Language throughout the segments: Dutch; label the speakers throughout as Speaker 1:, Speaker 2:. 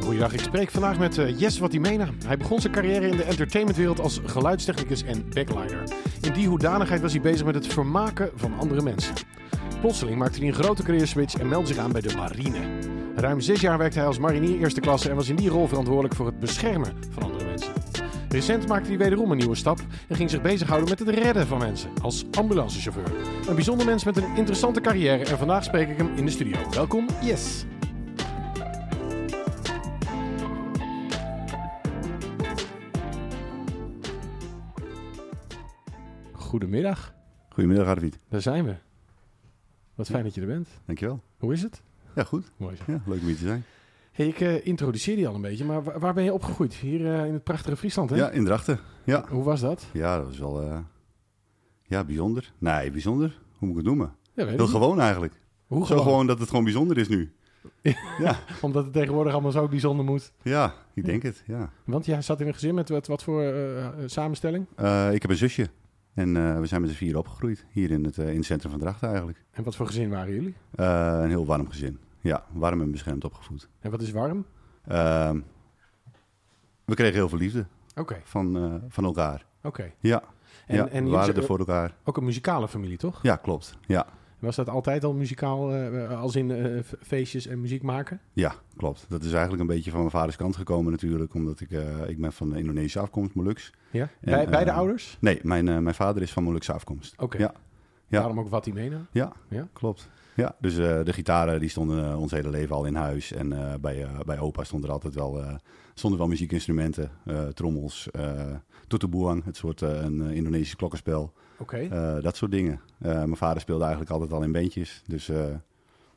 Speaker 1: Goeiedag, ik spreek vandaag met eh, Jesse Watimena. Hij begon zijn carrière in de entertainmentwereld als geluidstechnicus en backliner. In die hoedanigheid was hij bezig met het vermaken van andere mensen. Plotseling maakte hij een grote career switch en meldde zich aan bij de marine. Ruim zes jaar werkte hij als marinier eerste klasse en was in die rol verantwoordelijk voor het beschermen van andere mensen. Recent maakte hij wederom een nieuwe stap en ging zich bezighouden met het redden van mensen als ambulancechauffeur. Een bijzonder mens met een interessante carrière en vandaag spreek ik hem in de studio. Welkom, Yes. Goedemiddag.
Speaker 2: Goedemiddag, Arvid.
Speaker 1: Daar zijn we. Wat fijn dat je er bent.
Speaker 2: Dankjewel.
Speaker 1: Hoe is het?
Speaker 2: Ja, goed.
Speaker 1: Mooi zo.
Speaker 2: Ja, leuk om hier te zijn.
Speaker 1: Hey, ik eh, introduceer je al een beetje, maar wa- waar ben je opgegroeid? Hier eh, in het prachtige Friesland, hè?
Speaker 2: Ja, in Drachten. Ja,
Speaker 1: Hoe was dat?
Speaker 2: ja dat was wel... eh, ja, bijzonder. Nee, bijzonder. Hoe moet ik het noemen?
Speaker 1: Ja, weet ik
Speaker 2: Heel
Speaker 1: niet.
Speaker 2: gewoon eigenlijk.
Speaker 1: Hoe
Speaker 2: Zo gewoon dat het gewoon bijzonder is nu.
Speaker 1: Omdat het tegenwoordig allemaal zo bijzonder moet.
Speaker 2: Ja, ik denk het, ja.
Speaker 1: Want jij zat in een gezin met wat, wat voor eh, eh, samenstelling?
Speaker 2: Eh, ik heb een zusje. En eh, we zijn met z'n vier opgegroeid. Hier in het, eh, in het centrum van Drachten eigenlijk.
Speaker 1: En wat voor gezin waren jullie?
Speaker 2: Eh, een heel warm gezin. Ja, warm en beschermd opgevoed.
Speaker 1: En wat is warm?
Speaker 2: Ehm, we kregen heel veel liefde
Speaker 1: Oké,
Speaker 2: van, eh, van elkaar.
Speaker 1: oké.
Speaker 2: Ja,
Speaker 1: En,
Speaker 2: ja
Speaker 1: en
Speaker 2: we
Speaker 1: jullie
Speaker 2: waren
Speaker 1: zijn
Speaker 2: er voor elkaar.
Speaker 1: ook een muzikale familie, toch?
Speaker 2: Ja, klopt. Ja,
Speaker 1: Was dat altijd al muzikaal, eh, als in eh, f- feestjes en muziek maken?
Speaker 2: Ja, klopt. Dat is eigenlijk een beetje van mijn vaders kant gekomen natuurlijk, omdat ik, eh, ik ben van Indonesische afkomst, Molux.
Speaker 1: Ja? Bij,
Speaker 2: eh,
Speaker 1: beide ouders?
Speaker 2: Nee, mijn, eh, mijn vader is van Molukse afkomst.
Speaker 1: Oké.
Speaker 2: ja. Ja.
Speaker 1: Daarom ook wat die meenam?
Speaker 2: Klopt. Ja, dus eh, de gitaren die stonden eh, ons hele leven al in huis. En eh, bij, eh, bij opa stonden er altijd wel, eh, stonden wel muziekinstrumenten, eh, trommels, eh toetoeboang, het soort eh, een eh, Indonesisch klokkenspel,
Speaker 1: Oké.
Speaker 2: eh, dat soort dingen. Eh, mijn vader speelde eigenlijk altijd al in bandjes, dus eh,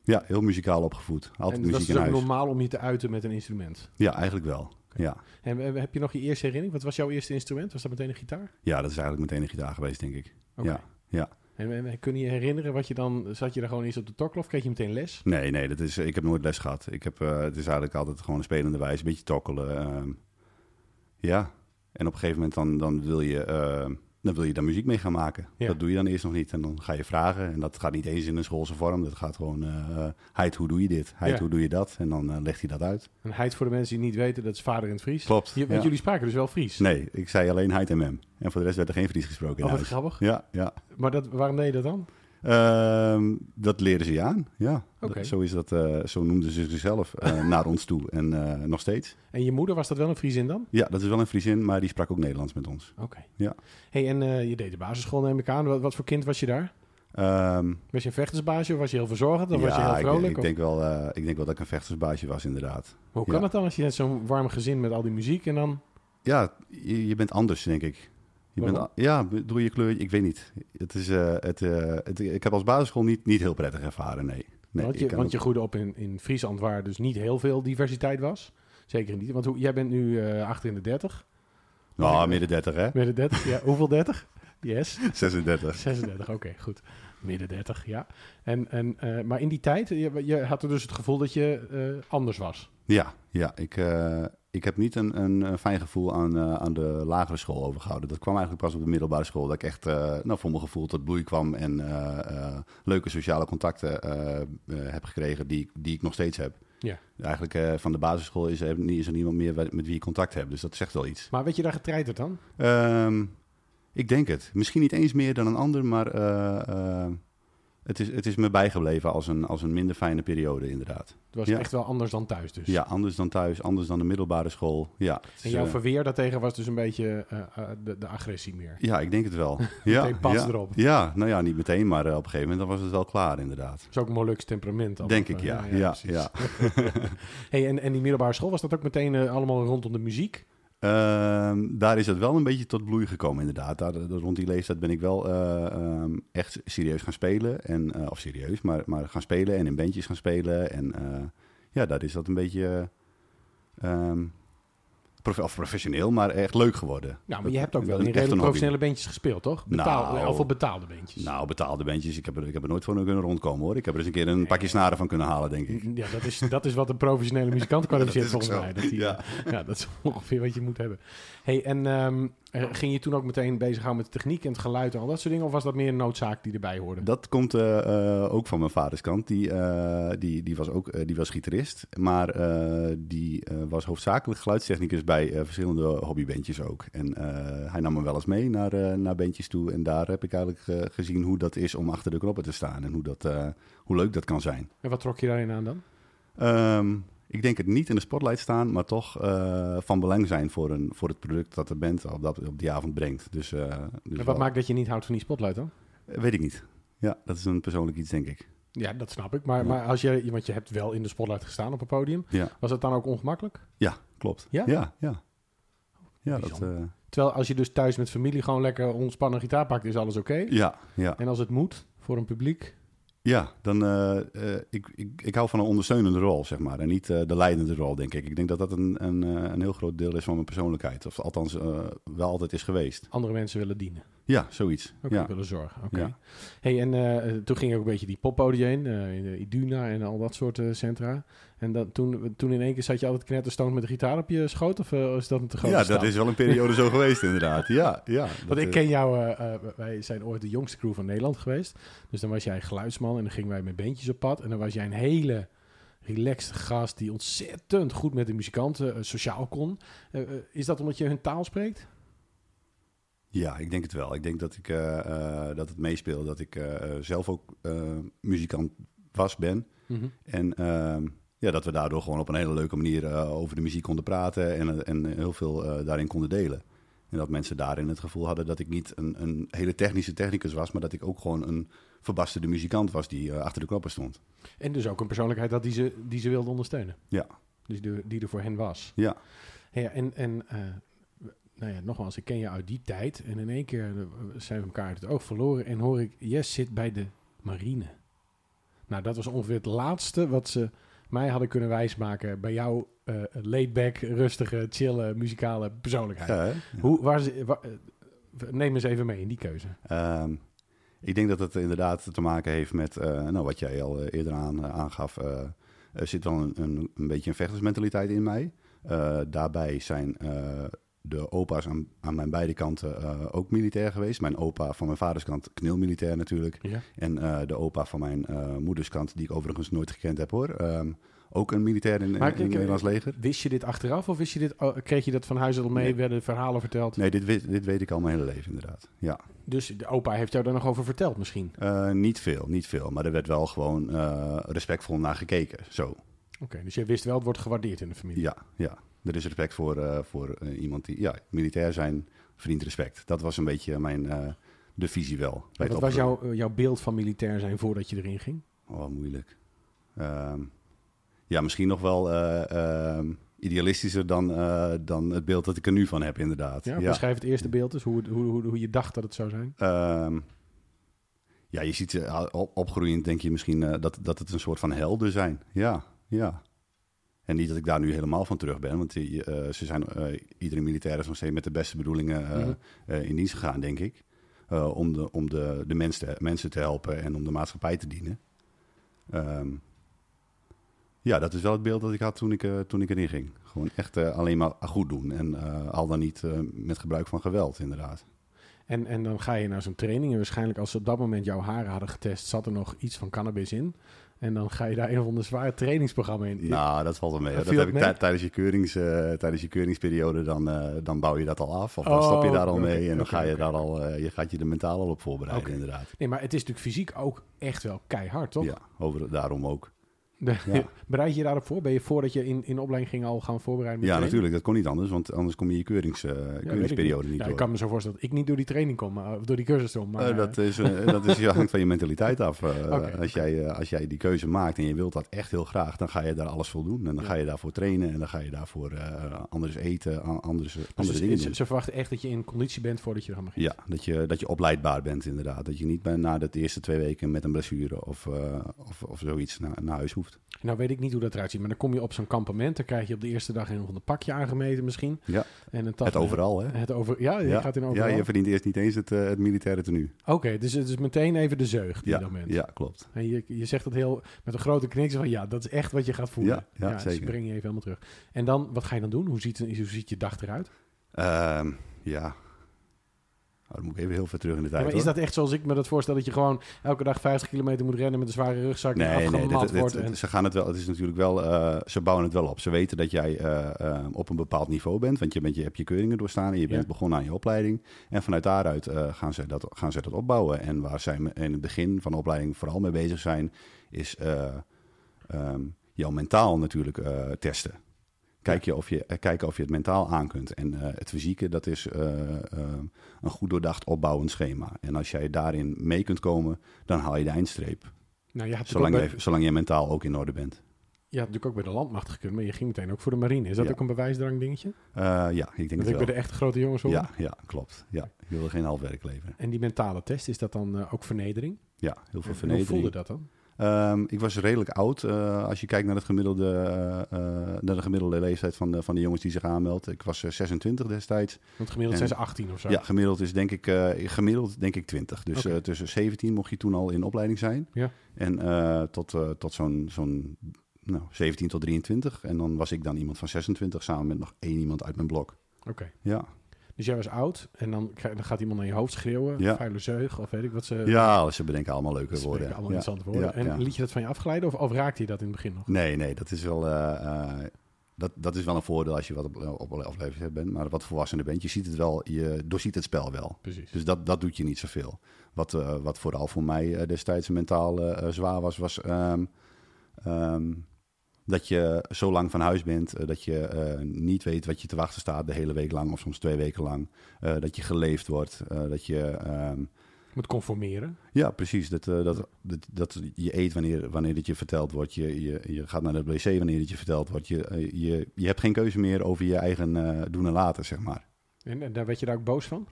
Speaker 2: ja, heel muzikaal opgevoed. Altijd
Speaker 1: en dat
Speaker 2: muziek
Speaker 1: is
Speaker 2: in
Speaker 1: dus ook
Speaker 2: huis.
Speaker 1: normaal om je te uiten met een instrument.
Speaker 2: Ja, eigenlijk wel. Ja.
Speaker 1: En eh, heb je nog je eerste herinnering? Wat was jouw eerste instrument? Was dat meteen een gitaar?
Speaker 2: ja, dat is eigenlijk meteen een gitaar geweest, denk ik.
Speaker 1: Oké.
Speaker 2: Ja, ja.
Speaker 1: En, en, en kun je je herinneren wat je dan... Zat je er gewoon eens op de tokklof? Kreeg je meteen les?
Speaker 2: Nee, nee, dat is, ik heb nooit les gehad. Ik heb, eh, het is eigenlijk altijd gewoon een spelende wijze, een beetje tokkelen. ehm, ja, en op een gegeven moment dan, dan, wil je, ehm, dan wil je daar muziek mee gaan maken.
Speaker 1: Ja.
Speaker 2: Dat doe je dan eerst nog niet en dan ga je vragen. En dat gaat niet eens in een schoolse vorm, dat gaat gewoon... eh Heid, hoe doe je dit? Heid,
Speaker 1: Ja.
Speaker 2: hoe doe je dat? En dan eh, legt hij dat uit.
Speaker 1: Een heid voor de mensen die niet weten, dat is vader in het Fries.
Speaker 2: Klopt.
Speaker 1: Je- want
Speaker 2: ja.
Speaker 1: jullie spraken dus wel Fries.
Speaker 2: Nee, ik zei alleen Heid en Mem. En voor de rest werd er geen Fries gesproken in
Speaker 1: Oh, wat
Speaker 2: huis.
Speaker 1: grappig.
Speaker 2: Ja, ja.
Speaker 1: Maar dat, waarom deed je dat dan?
Speaker 2: Ehm, dat leren ze je aan, ja.
Speaker 1: Oké.
Speaker 2: Dat- zo, is dat, eh, zo noemden ze zichzelf eh, naar ons toe en eh, nog steeds.
Speaker 1: En je moeder, was dat wel een Friesin dan?
Speaker 2: Ja, dat is wel een Friesin, maar die sprak ook Nederlands met ons.
Speaker 1: Oké.
Speaker 2: Ja.
Speaker 1: Hey, en eh, je deed de basisschool, neem ik aan. Wat, wat voor kind was je daar?
Speaker 2: Ehm,
Speaker 1: Was je een vechtersbaasje of was je heel verzorgend? Of was je
Speaker 2: ja,
Speaker 1: heel
Speaker 2: ik-
Speaker 1: vrolijk?
Speaker 2: ik,
Speaker 1: Of-
Speaker 2: denk wel, eh, ik denk wel dat ik een vechtersbaasje was, inderdaad.
Speaker 1: Hoe kan
Speaker 2: ja.
Speaker 1: het dan als je net zo'n warm gezin met al die muziek en dan...
Speaker 2: Ja, je, je bent anders, denk ik. Je bent,
Speaker 1: Waarom?
Speaker 2: a- ja, door je kleur, ik weet niet. Het is, eh, het, eh, het, ik heb als basisschool niet, niet heel prettig ervaren, nee. nee
Speaker 1: want
Speaker 2: ik
Speaker 1: je,
Speaker 2: kan
Speaker 1: want
Speaker 2: ook-
Speaker 1: je groeide op in, in Friesland, waar dus niet heel veel diversiteit was. Zeker niet. Want hoe, jij bent nu eh achter in de 30.
Speaker 2: Nou, midden 30, hè?
Speaker 1: Midden 30. ja, hoeveel 30? Yes.
Speaker 2: 36.
Speaker 1: 36, oké, goed. Midden 30, ja. En, en, eh, maar in die tijd, je, je had er dus het gevoel dat je eh, anders was.
Speaker 2: Ja, ja ik, eh, ik heb niet een, een eh, fijn gevoel aan, eh, aan de lagere school overgehouden. Dat kwam eigenlijk pas op de middelbare school. Dat ik echt eh, nou, voor mijn gevoel tot bloei kwam en eh, eh, leuke sociale contacten eh, eh, heb gekregen die, ik- die ik nog steeds heb.
Speaker 1: Ja.
Speaker 2: Eigenlijk eh, van de basisschool is er, nie- is er niemand meer met wie ik contact heb. Dus dat zegt wel iets.
Speaker 1: Maar werd je daar getreiterd dan?
Speaker 2: Ehm, ik denk het. Misschien niet eens meer dan een ander, maar eh, eh, het, is, het is me bijgebleven als een, als een minder fijne periode inderdaad.
Speaker 1: Het was
Speaker 2: Ja.
Speaker 1: echt wel anders dan thuis dus.
Speaker 2: Ja, anders dan thuis, anders dan de middelbare school. Ja, het is,
Speaker 1: En jouw
Speaker 2: eh,
Speaker 1: verweer daartegen was dus een beetje eh, eh, de, de agressie meer.
Speaker 2: ja ik denk het wel. ja,
Speaker 1: Meteen pas
Speaker 2: ja.
Speaker 1: erop.
Speaker 2: Ja, nou ja, niet meteen, maar eh, op een gegeven moment dan was het wel klaar inderdaad.
Speaker 1: Dat is ook Molux temperament. dan.
Speaker 2: Denk
Speaker 1: Of,
Speaker 2: ik,
Speaker 1: eh,
Speaker 2: ja. Ja,
Speaker 1: precies.
Speaker 2: ja.
Speaker 1: hey, en, en die middelbare school, was dat ook meteen eh, allemaal rondom de muziek?
Speaker 2: Ehm, daar is het wel een beetje tot bloei gekomen inderdaad. Daar, daar- rond die leeftijd ben ik wel eh, ehm, echt serieus gaan spelen. En, eh, of serieus, maar, maar gaan spelen en in bandjes gaan spelen. En eh, ja, daar is dat een beetje... eh, ehm, prof- of professioneel, maar echt leuk geworden.
Speaker 1: Nou, maar
Speaker 2: Dat-
Speaker 1: je hebt ook wel
Speaker 2: dat-
Speaker 1: in
Speaker 2: echt een
Speaker 1: redelijk
Speaker 2: hobby.
Speaker 1: professionele bandjes gespeeld, toch? Betaal,
Speaker 2: Nou.
Speaker 1: of wel betaalde bandjes.
Speaker 2: Nou, betaalde bandjes. Ik heb, er, ik heb er nooit van kunnen rondkomen hoor. Ik heb er eens een keer een
Speaker 1: Nee.
Speaker 2: pakje snaren van kunnen halen, denk ik.
Speaker 1: Ja, dat is, dat is wat een professionele muzikant kwalificeert
Speaker 2: Dat is ook
Speaker 1: volgens mij.
Speaker 2: zo.
Speaker 1: Dat die, ja.
Speaker 2: Ja.
Speaker 1: dat is ongeveer wat je moet hebben. Hey, en ehm, Eh, ging je toen ook meteen bezighouden met de techniek en het geluid en al dat soort dingen? Of was dat meer een noodzaak die erbij hoorde?
Speaker 2: Dat komt eh, eh, ook van mijn vaders kant. Die, eh, die, die was ook eh, die was gitarist, maar eh, die eh, was hoofdzakelijk geluidstechnicus bij eh, verschillende hobbybandjes ook. En eh, hij nam me wel eens mee naar, eh, naar bandjes toe. En daar heb ik eigenlijk eh, gezien hoe dat is om achter de knoppen te staan en hoe, dat, eh, hoe leuk dat kan zijn.
Speaker 1: En wat trok je daarin aan dan?
Speaker 2: Ehm, ik denk het niet in de spotlight staan, maar toch eh, van belang zijn voor, een, voor het product dat de band op, dat, op die avond brengt. Dus, eh, dus
Speaker 1: En wat
Speaker 2: wel-
Speaker 1: maakt dat je niet houdt van die spotlight dan?
Speaker 2: Weet ik niet. Ja, dat is een persoonlijk iets, denk ik.
Speaker 1: Ja, dat snap ik. Maar,
Speaker 2: Ja.
Speaker 1: maar als je, want je hebt wel in de spotlight gestaan op een podium.
Speaker 2: Ja.
Speaker 1: Was dat dan ook ongemakkelijk?
Speaker 2: Ja, klopt.
Speaker 1: Ja?
Speaker 2: Ja, ja. Ja, dat,
Speaker 1: Bijzonder.
Speaker 2: eh,
Speaker 1: Terwijl als je dus thuis met familie gewoon lekker ontspannen gitaar pakt, is alles oké.
Speaker 2: eh, ja, ja.
Speaker 1: En als het moet, voor een publiek.
Speaker 2: ja dan, eh, eh, ik, ik, ik hou van een ondersteunende rol, zeg maar. En niet eh, de leidende rol, denk ik. Ik denk dat dat een, een, eh, een heel groot deel is van mijn persoonlijkheid. Of althans, eh, wel altijd is geweest.
Speaker 1: Andere mensen willen dienen.
Speaker 2: Ja, zoiets.
Speaker 1: Ook
Speaker 2: Ja.
Speaker 1: willen zorgen. Oké.
Speaker 2: Ja.
Speaker 1: Hey, en eh, toen ging je ook een beetje die poppodia heen. eh, in de Iduna en al dat soort eh, centra. En dat, toen, toen in één keer zat je altijd knetterstoond met de gitaar op je schoot? Of eh, is dat een te grote
Speaker 2: ja,
Speaker 1: stap?
Speaker 2: dat is wel een periode zo geweest, inderdaad. Ja, ja.
Speaker 1: Want
Speaker 2: dat,
Speaker 1: ik
Speaker 2: eh,
Speaker 1: ken jou, eh, eh, wij zijn ooit de jongste crew van Nederland geweest. Dus dan was jij geluidsman en dan gingen wij met bandjes op pad. En dan was jij een hele relaxed gast die ontzettend goed met de muzikanten eh, sociaal kon. Eh, eh, is dat omdat je hun taal spreekt?
Speaker 2: Ja, ik denk het wel. Ik denk dat, ik, eh, eh, dat het meespeelt dat ik eh, eh, zelf ook eh, muzikant was, ben.
Speaker 1: Mhm.
Speaker 2: En ehm, ja, dat we daardoor gewoon op een hele leuke manier eh, over de muziek konden praten en, eh, en heel veel eh, daarin konden delen. En dat mensen daarin het gevoel hadden dat ik niet een, een hele technische technicus was, maar dat ik ook gewoon een verbasterde muzikant was die eh, achter de knoppen stond.
Speaker 1: En dus ook een persoonlijkheid dat die ze, die ze wilde ondersteunen.
Speaker 2: Ja.
Speaker 1: Dus die, die er voor hen was.
Speaker 2: Ja.
Speaker 1: Ja, en, en eh, nou ja, nogmaals, ik ken je uit die tijd. En in één keer eh, zijn we elkaar uit het oog verloren. En hoor ik, Jess zit bij de marine. Nou, dat was ongeveer het laatste wat ze mij hadden kunnen wijsmaken... bij jouw eh laidback, rustige, chille, muzikale persoonlijkheid.
Speaker 2: Ja, hè?
Speaker 1: Hoe, waar ze, wa- eh, neem eens even mee in die keuze.
Speaker 2: Ehm, ik denk dat het inderdaad te maken heeft met eh, nou, wat jij al eh, eerder aan, eh, aangaf. eh, er zit wel een, een, een beetje een vechtersmentaliteit in mij. Eh, daarbij zijn eh, de opa's aan, aan mijn beide kanten eh, ook militair geweest. Mijn opa van mijn vaders kant knielmilitair natuurlijk.
Speaker 1: Ja.
Speaker 2: En eh, de opa van mijn eh, moeders kant, die ik overigens nooit gekend heb hoor. ehm, ook een militair in, in,
Speaker 1: Maar
Speaker 2: in het
Speaker 1: kijk, eh,
Speaker 2: Nederlands leger.
Speaker 1: Wist je dit achteraf of wist je dit, oh, kreeg je dat van huis al mee?
Speaker 2: Nee.
Speaker 1: Werden verhalen verteld?
Speaker 2: Nee, dit, weet- dit weet ik al mijn hele leven inderdaad. Ja.
Speaker 1: Dus de opa heeft jou daar nog over verteld misschien?
Speaker 2: Eh, niet veel, niet veel. Maar er werd wel gewoon eh, respectvol naar gekeken. Zo,
Speaker 1: Oké, dus je wist wel, het wordt gewaardeerd in de familie.
Speaker 2: ja, ja. Er is respect voor, eh, voor eh, iemand die... Ja, militair zijn verdient respect. Dat was een beetje mijn... eh, de visie wel. bij het
Speaker 1: Wat was jouw, eh, jouw beeld van militair zijn voordat je erin ging?
Speaker 2: opgroeien. Oh, moeilijk. Ehm, ja, misschien nog wel eh, ehm, idealistischer dan, eh, dan het beeld dat ik er nu van heb, inderdaad.
Speaker 1: Ja, Beschrijf het eerste beeld dus, hoe, het- hoe, hoe, hoe je dacht dat het zou zijn.
Speaker 2: Ehm, ja, je ziet eh, op- opgroeiend denk je misschien eh, dat, dat het een soort van helden zijn. Ja, ja. En niet dat ik daar nu helemaal van terug ben, want die, eh, ze zijn, eh, iedere militair is nog steeds met de beste bedoelingen eh,
Speaker 1: Mhm.
Speaker 2: eh, in dienst gegaan, denk ik. Eh, om de, om de, de mens te- mensen te helpen en om de maatschappij te dienen. Ehm, ja, dat is wel het beeld dat ik had toen ik, eh, toen ik erin ging. Gewoon echt eh, alleen maar goed doen en eh, al dan niet eh, met gebruik van geweld, inderdaad.
Speaker 1: En, en dan ga je naar zo'n training en waarschijnlijk als ze op dat moment jouw haren hadden getest, zat er nog iets van cannabis in. En dan ga je daar een of ander zwaar trainingsprogramma in.
Speaker 2: Nou, dat valt wel mee.
Speaker 1: Dat
Speaker 2: Dat,
Speaker 1: viel
Speaker 2: heb ik
Speaker 1: mee?
Speaker 2: tij- tijdens, je keurings, eh, tijdens je keuringsperiode, dan, eh, dan bouw je dat al af. Of dan
Speaker 1: Oh,
Speaker 2: stap je daar al
Speaker 1: oké,
Speaker 2: mee en dan
Speaker 1: oké,
Speaker 2: ga je
Speaker 1: oké,
Speaker 2: daar al, eh, je gaat je er mentaal al op voorbereiden,
Speaker 1: Oké.
Speaker 2: inderdaad.
Speaker 1: Nee, maar het is natuurlijk fysiek ook echt wel keihard, toch?
Speaker 2: Ja, over, daarom ook.
Speaker 1: De- Bereid je je daarop voor? Ben je voordat je in, in de opleiding ging al gaan voorbereiden? met
Speaker 2: Ja,
Speaker 1: training?
Speaker 2: natuurlijk, dat kon niet anders, want anders kom je je keurings, eh,
Speaker 1: Ja, weet ik
Speaker 2: keuringsperiode
Speaker 1: niet.
Speaker 2: niet
Speaker 1: Ja,
Speaker 2: door.
Speaker 1: Nou, ik kan me zo voorstellen dat ik niet door die training kom, maar, of door die cursus om. Maar,
Speaker 2: Eh, dat is, eh, dat is, ja, hangt van je mentaliteit af. eh,
Speaker 1: Oké.
Speaker 2: als, jij, eh, als jij die keuze maakt en je wilt dat echt heel graag, dan ga je daar alles voor doen. En dan
Speaker 1: Ja.
Speaker 2: ga je daarvoor trainen en dan ga je daarvoor eh, anders eten, a- anders,
Speaker 1: Dus
Speaker 2: andere
Speaker 1: ze-
Speaker 2: dingen doen.
Speaker 1: ze, ze verwachten echt dat je in conditie bent voordat je er aan begint.
Speaker 2: Ja, dat je, dat je opleidbaar bent inderdaad. Dat je niet bij, na de eerste twee weken met een blessure of, eh, of, of zoiets naar, naar huis hoeft.
Speaker 1: Nou weet ik niet hoe dat eruit ziet, maar dan kom je op zo'n kampement. Dan krijg je op de eerste dag een of ander pakje aangemeten misschien.
Speaker 2: Ja.
Speaker 1: En een tas
Speaker 2: Het overal, hè?
Speaker 1: Het over, ja, je gaat in
Speaker 2: ja,
Speaker 1: overal.
Speaker 2: je verdient eerst niet eens het, eh, het militaire tenue.
Speaker 1: Oké, dus het is meteen even de zeug die
Speaker 2: Ja,
Speaker 1: je dan bent.
Speaker 2: ja, klopt.
Speaker 1: En je, je zegt dat heel met een grote knik zo van ja, dat is echt wat je gaat voelen.
Speaker 2: Ja, ja,
Speaker 1: dus
Speaker 2: zeker.
Speaker 1: ik breng je even helemaal terug. En dan, wat ga je dan doen? Hoe ziet, hoe ziet je dag eruit?
Speaker 2: Ehm, ja, Oh, dan moet ik even heel ver terug in de
Speaker 1: Ja,
Speaker 2: tijd.
Speaker 1: maar is
Speaker 2: hoor.
Speaker 1: dat echt zoals ik me dat voorstel, dat je gewoon elke dag 50 kilometer moet rennen met een zware rugzak en
Speaker 2: Nee, nee,
Speaker 1: afgemat
Speaker 2: dit- dit-
Speaker 1: wordt?
Speaker 2: dit-
Speaker 1: en-
Speaker 2: ze gaan het wel. Het is natuurlijk wel. eh, ze bouwen het wel op. Ze weten dat jij eh, eh, op een bepaald niveau bent, want je, bent, je hebt je keuringen doorstaan en je
Speaker 1: Ja.
Speaker 2: bent begonnen aan je opleiding. En vanuit daaruit eh, gaan, ze dat, gaan ze dat opbouwen. En waar zij me- in het begin van de opleiding vooral mee bezig zijn, is eh, ehm, jouw mentaal natuurlijk eh, testen. Kijk je of je, eh, kijken of je het mentaal aan kunt. En eh, het fysieke, dat is eh, ehm, een goed doordacht opbouwend schema. En als jij daarin mee kunt komen, dan haal je de eindstreep.
Speaker 1: nou, je had, natuurlijk ook
Speaker 2: Zolang
Speaker 1: bij,
Speaker 2: je, zolang je mentaal ook in orde bent.
Speaker 1: je had natuurlijk ook bij de landmacht gekund, maar je ging meteen ook voor de marine. Is dat
Speaker 2: Ja.
Speaker 1: ook een bewijsdrang dingetje?
Speaker 2: Eh, ja, ik denk
Speaker 1: Dat
Speaker 2: het
Speaker 1: ik bij
Speaker 2: wel.
Speaker 1: de echte grote jongens hoor.
Speaker 2: Ja, ja, klopt. Ja, ik wilde geen half werk leveren.
Speaker 1: En die mentale test, is dat dan eh, ook vernedering?
Speaker 2: Ja, heel veel
Speaker 1: En Hoe voelde
Speaker 2: vernedering.
Speaker 1: dat dan?
Speaker 2: Ehm, ik was redelijk oud. eh, als je kijkt naar, het gemiddelde, eh, eh, naar de gemiddelde leeftijd van de, van de jongens die zich aanmeldt. Ik was eh, 26 destijds.
Speaker 1: Want gemiddeld
Speaker 2: En-
Speaker 1: zijn ze 18 of zo.
Speaker 2: Ja, gemiddeld is denk ik, eh, gemiddeld denk ik 20. Dus
Speaker 1: Oké.
Speaker 2: eh, tussen 17 mocht je toen al in opleiding zijn.
Speaker 1: Ja.
Speaker 2: En eh, tot, eh, tot zo'n zo'n nou, 17 tot 23. En dan was ik dan iemand van 26 samen met nog één iemand uit mijn blok.
Speaker 1: Oké.
Speaker 2: Ja,
Speaker 1: Dus jij was oud en dan, krijg- dan gaat iemand naar je hoofd schreeuwen,
Speaker 2: Ja.
Speaker 1: vuile zeug of weet ik wat ze...
Speaker 2: ja ze bedenken allemaal leuke
Speaker 1: ze spreken
Speaker 2: woorden.
Speaker 1: allemaal
Speaker 2: ja.
Speaker 1: interessante woorden.
Speaker 2: Ja,
Speaker 1: en
Speaker 2: ja.
Speaker 1: liet je dat van je afglijden of, of raakte je dat in het begin nog?
Speaker 2: Nee, nee, dat is wel. eh, eh, dat, dat is wel een voordeel als je wat op, op, op leeftijd bent, maar wat volwassener bent. Je ziet het wel, je doorziet het spel wel.
Speaker 1: Precies.
Speaker 2: Dus dat, dat doet je niet zoveel. Wat, eh, wat vooral voor mij eh, destijds mentaal eh, eh, zwaar was, was ehm, ehm, dat je zo lang van huis bent, eh, dat je eh, niet weet wat je te wachten staat de hele week lang of soms twee weken lang. Eh, dat je geleefd wordt, eh, dat je ehm,
Speaker 1: Moet conformeren.
Speaker 2: ja, precies. Dat, eh, dat, dat, dat je eet wanneer, wanneer dat je verteld wordt. Je, je, je gaat naar de wc wanneer dat je verteld wordt. Je, eh, je, je hebt geen keuze meer over je eigen eh, doen en laten, zeg maar.
Speaker 1: En, en daar werd je daar ook boos van?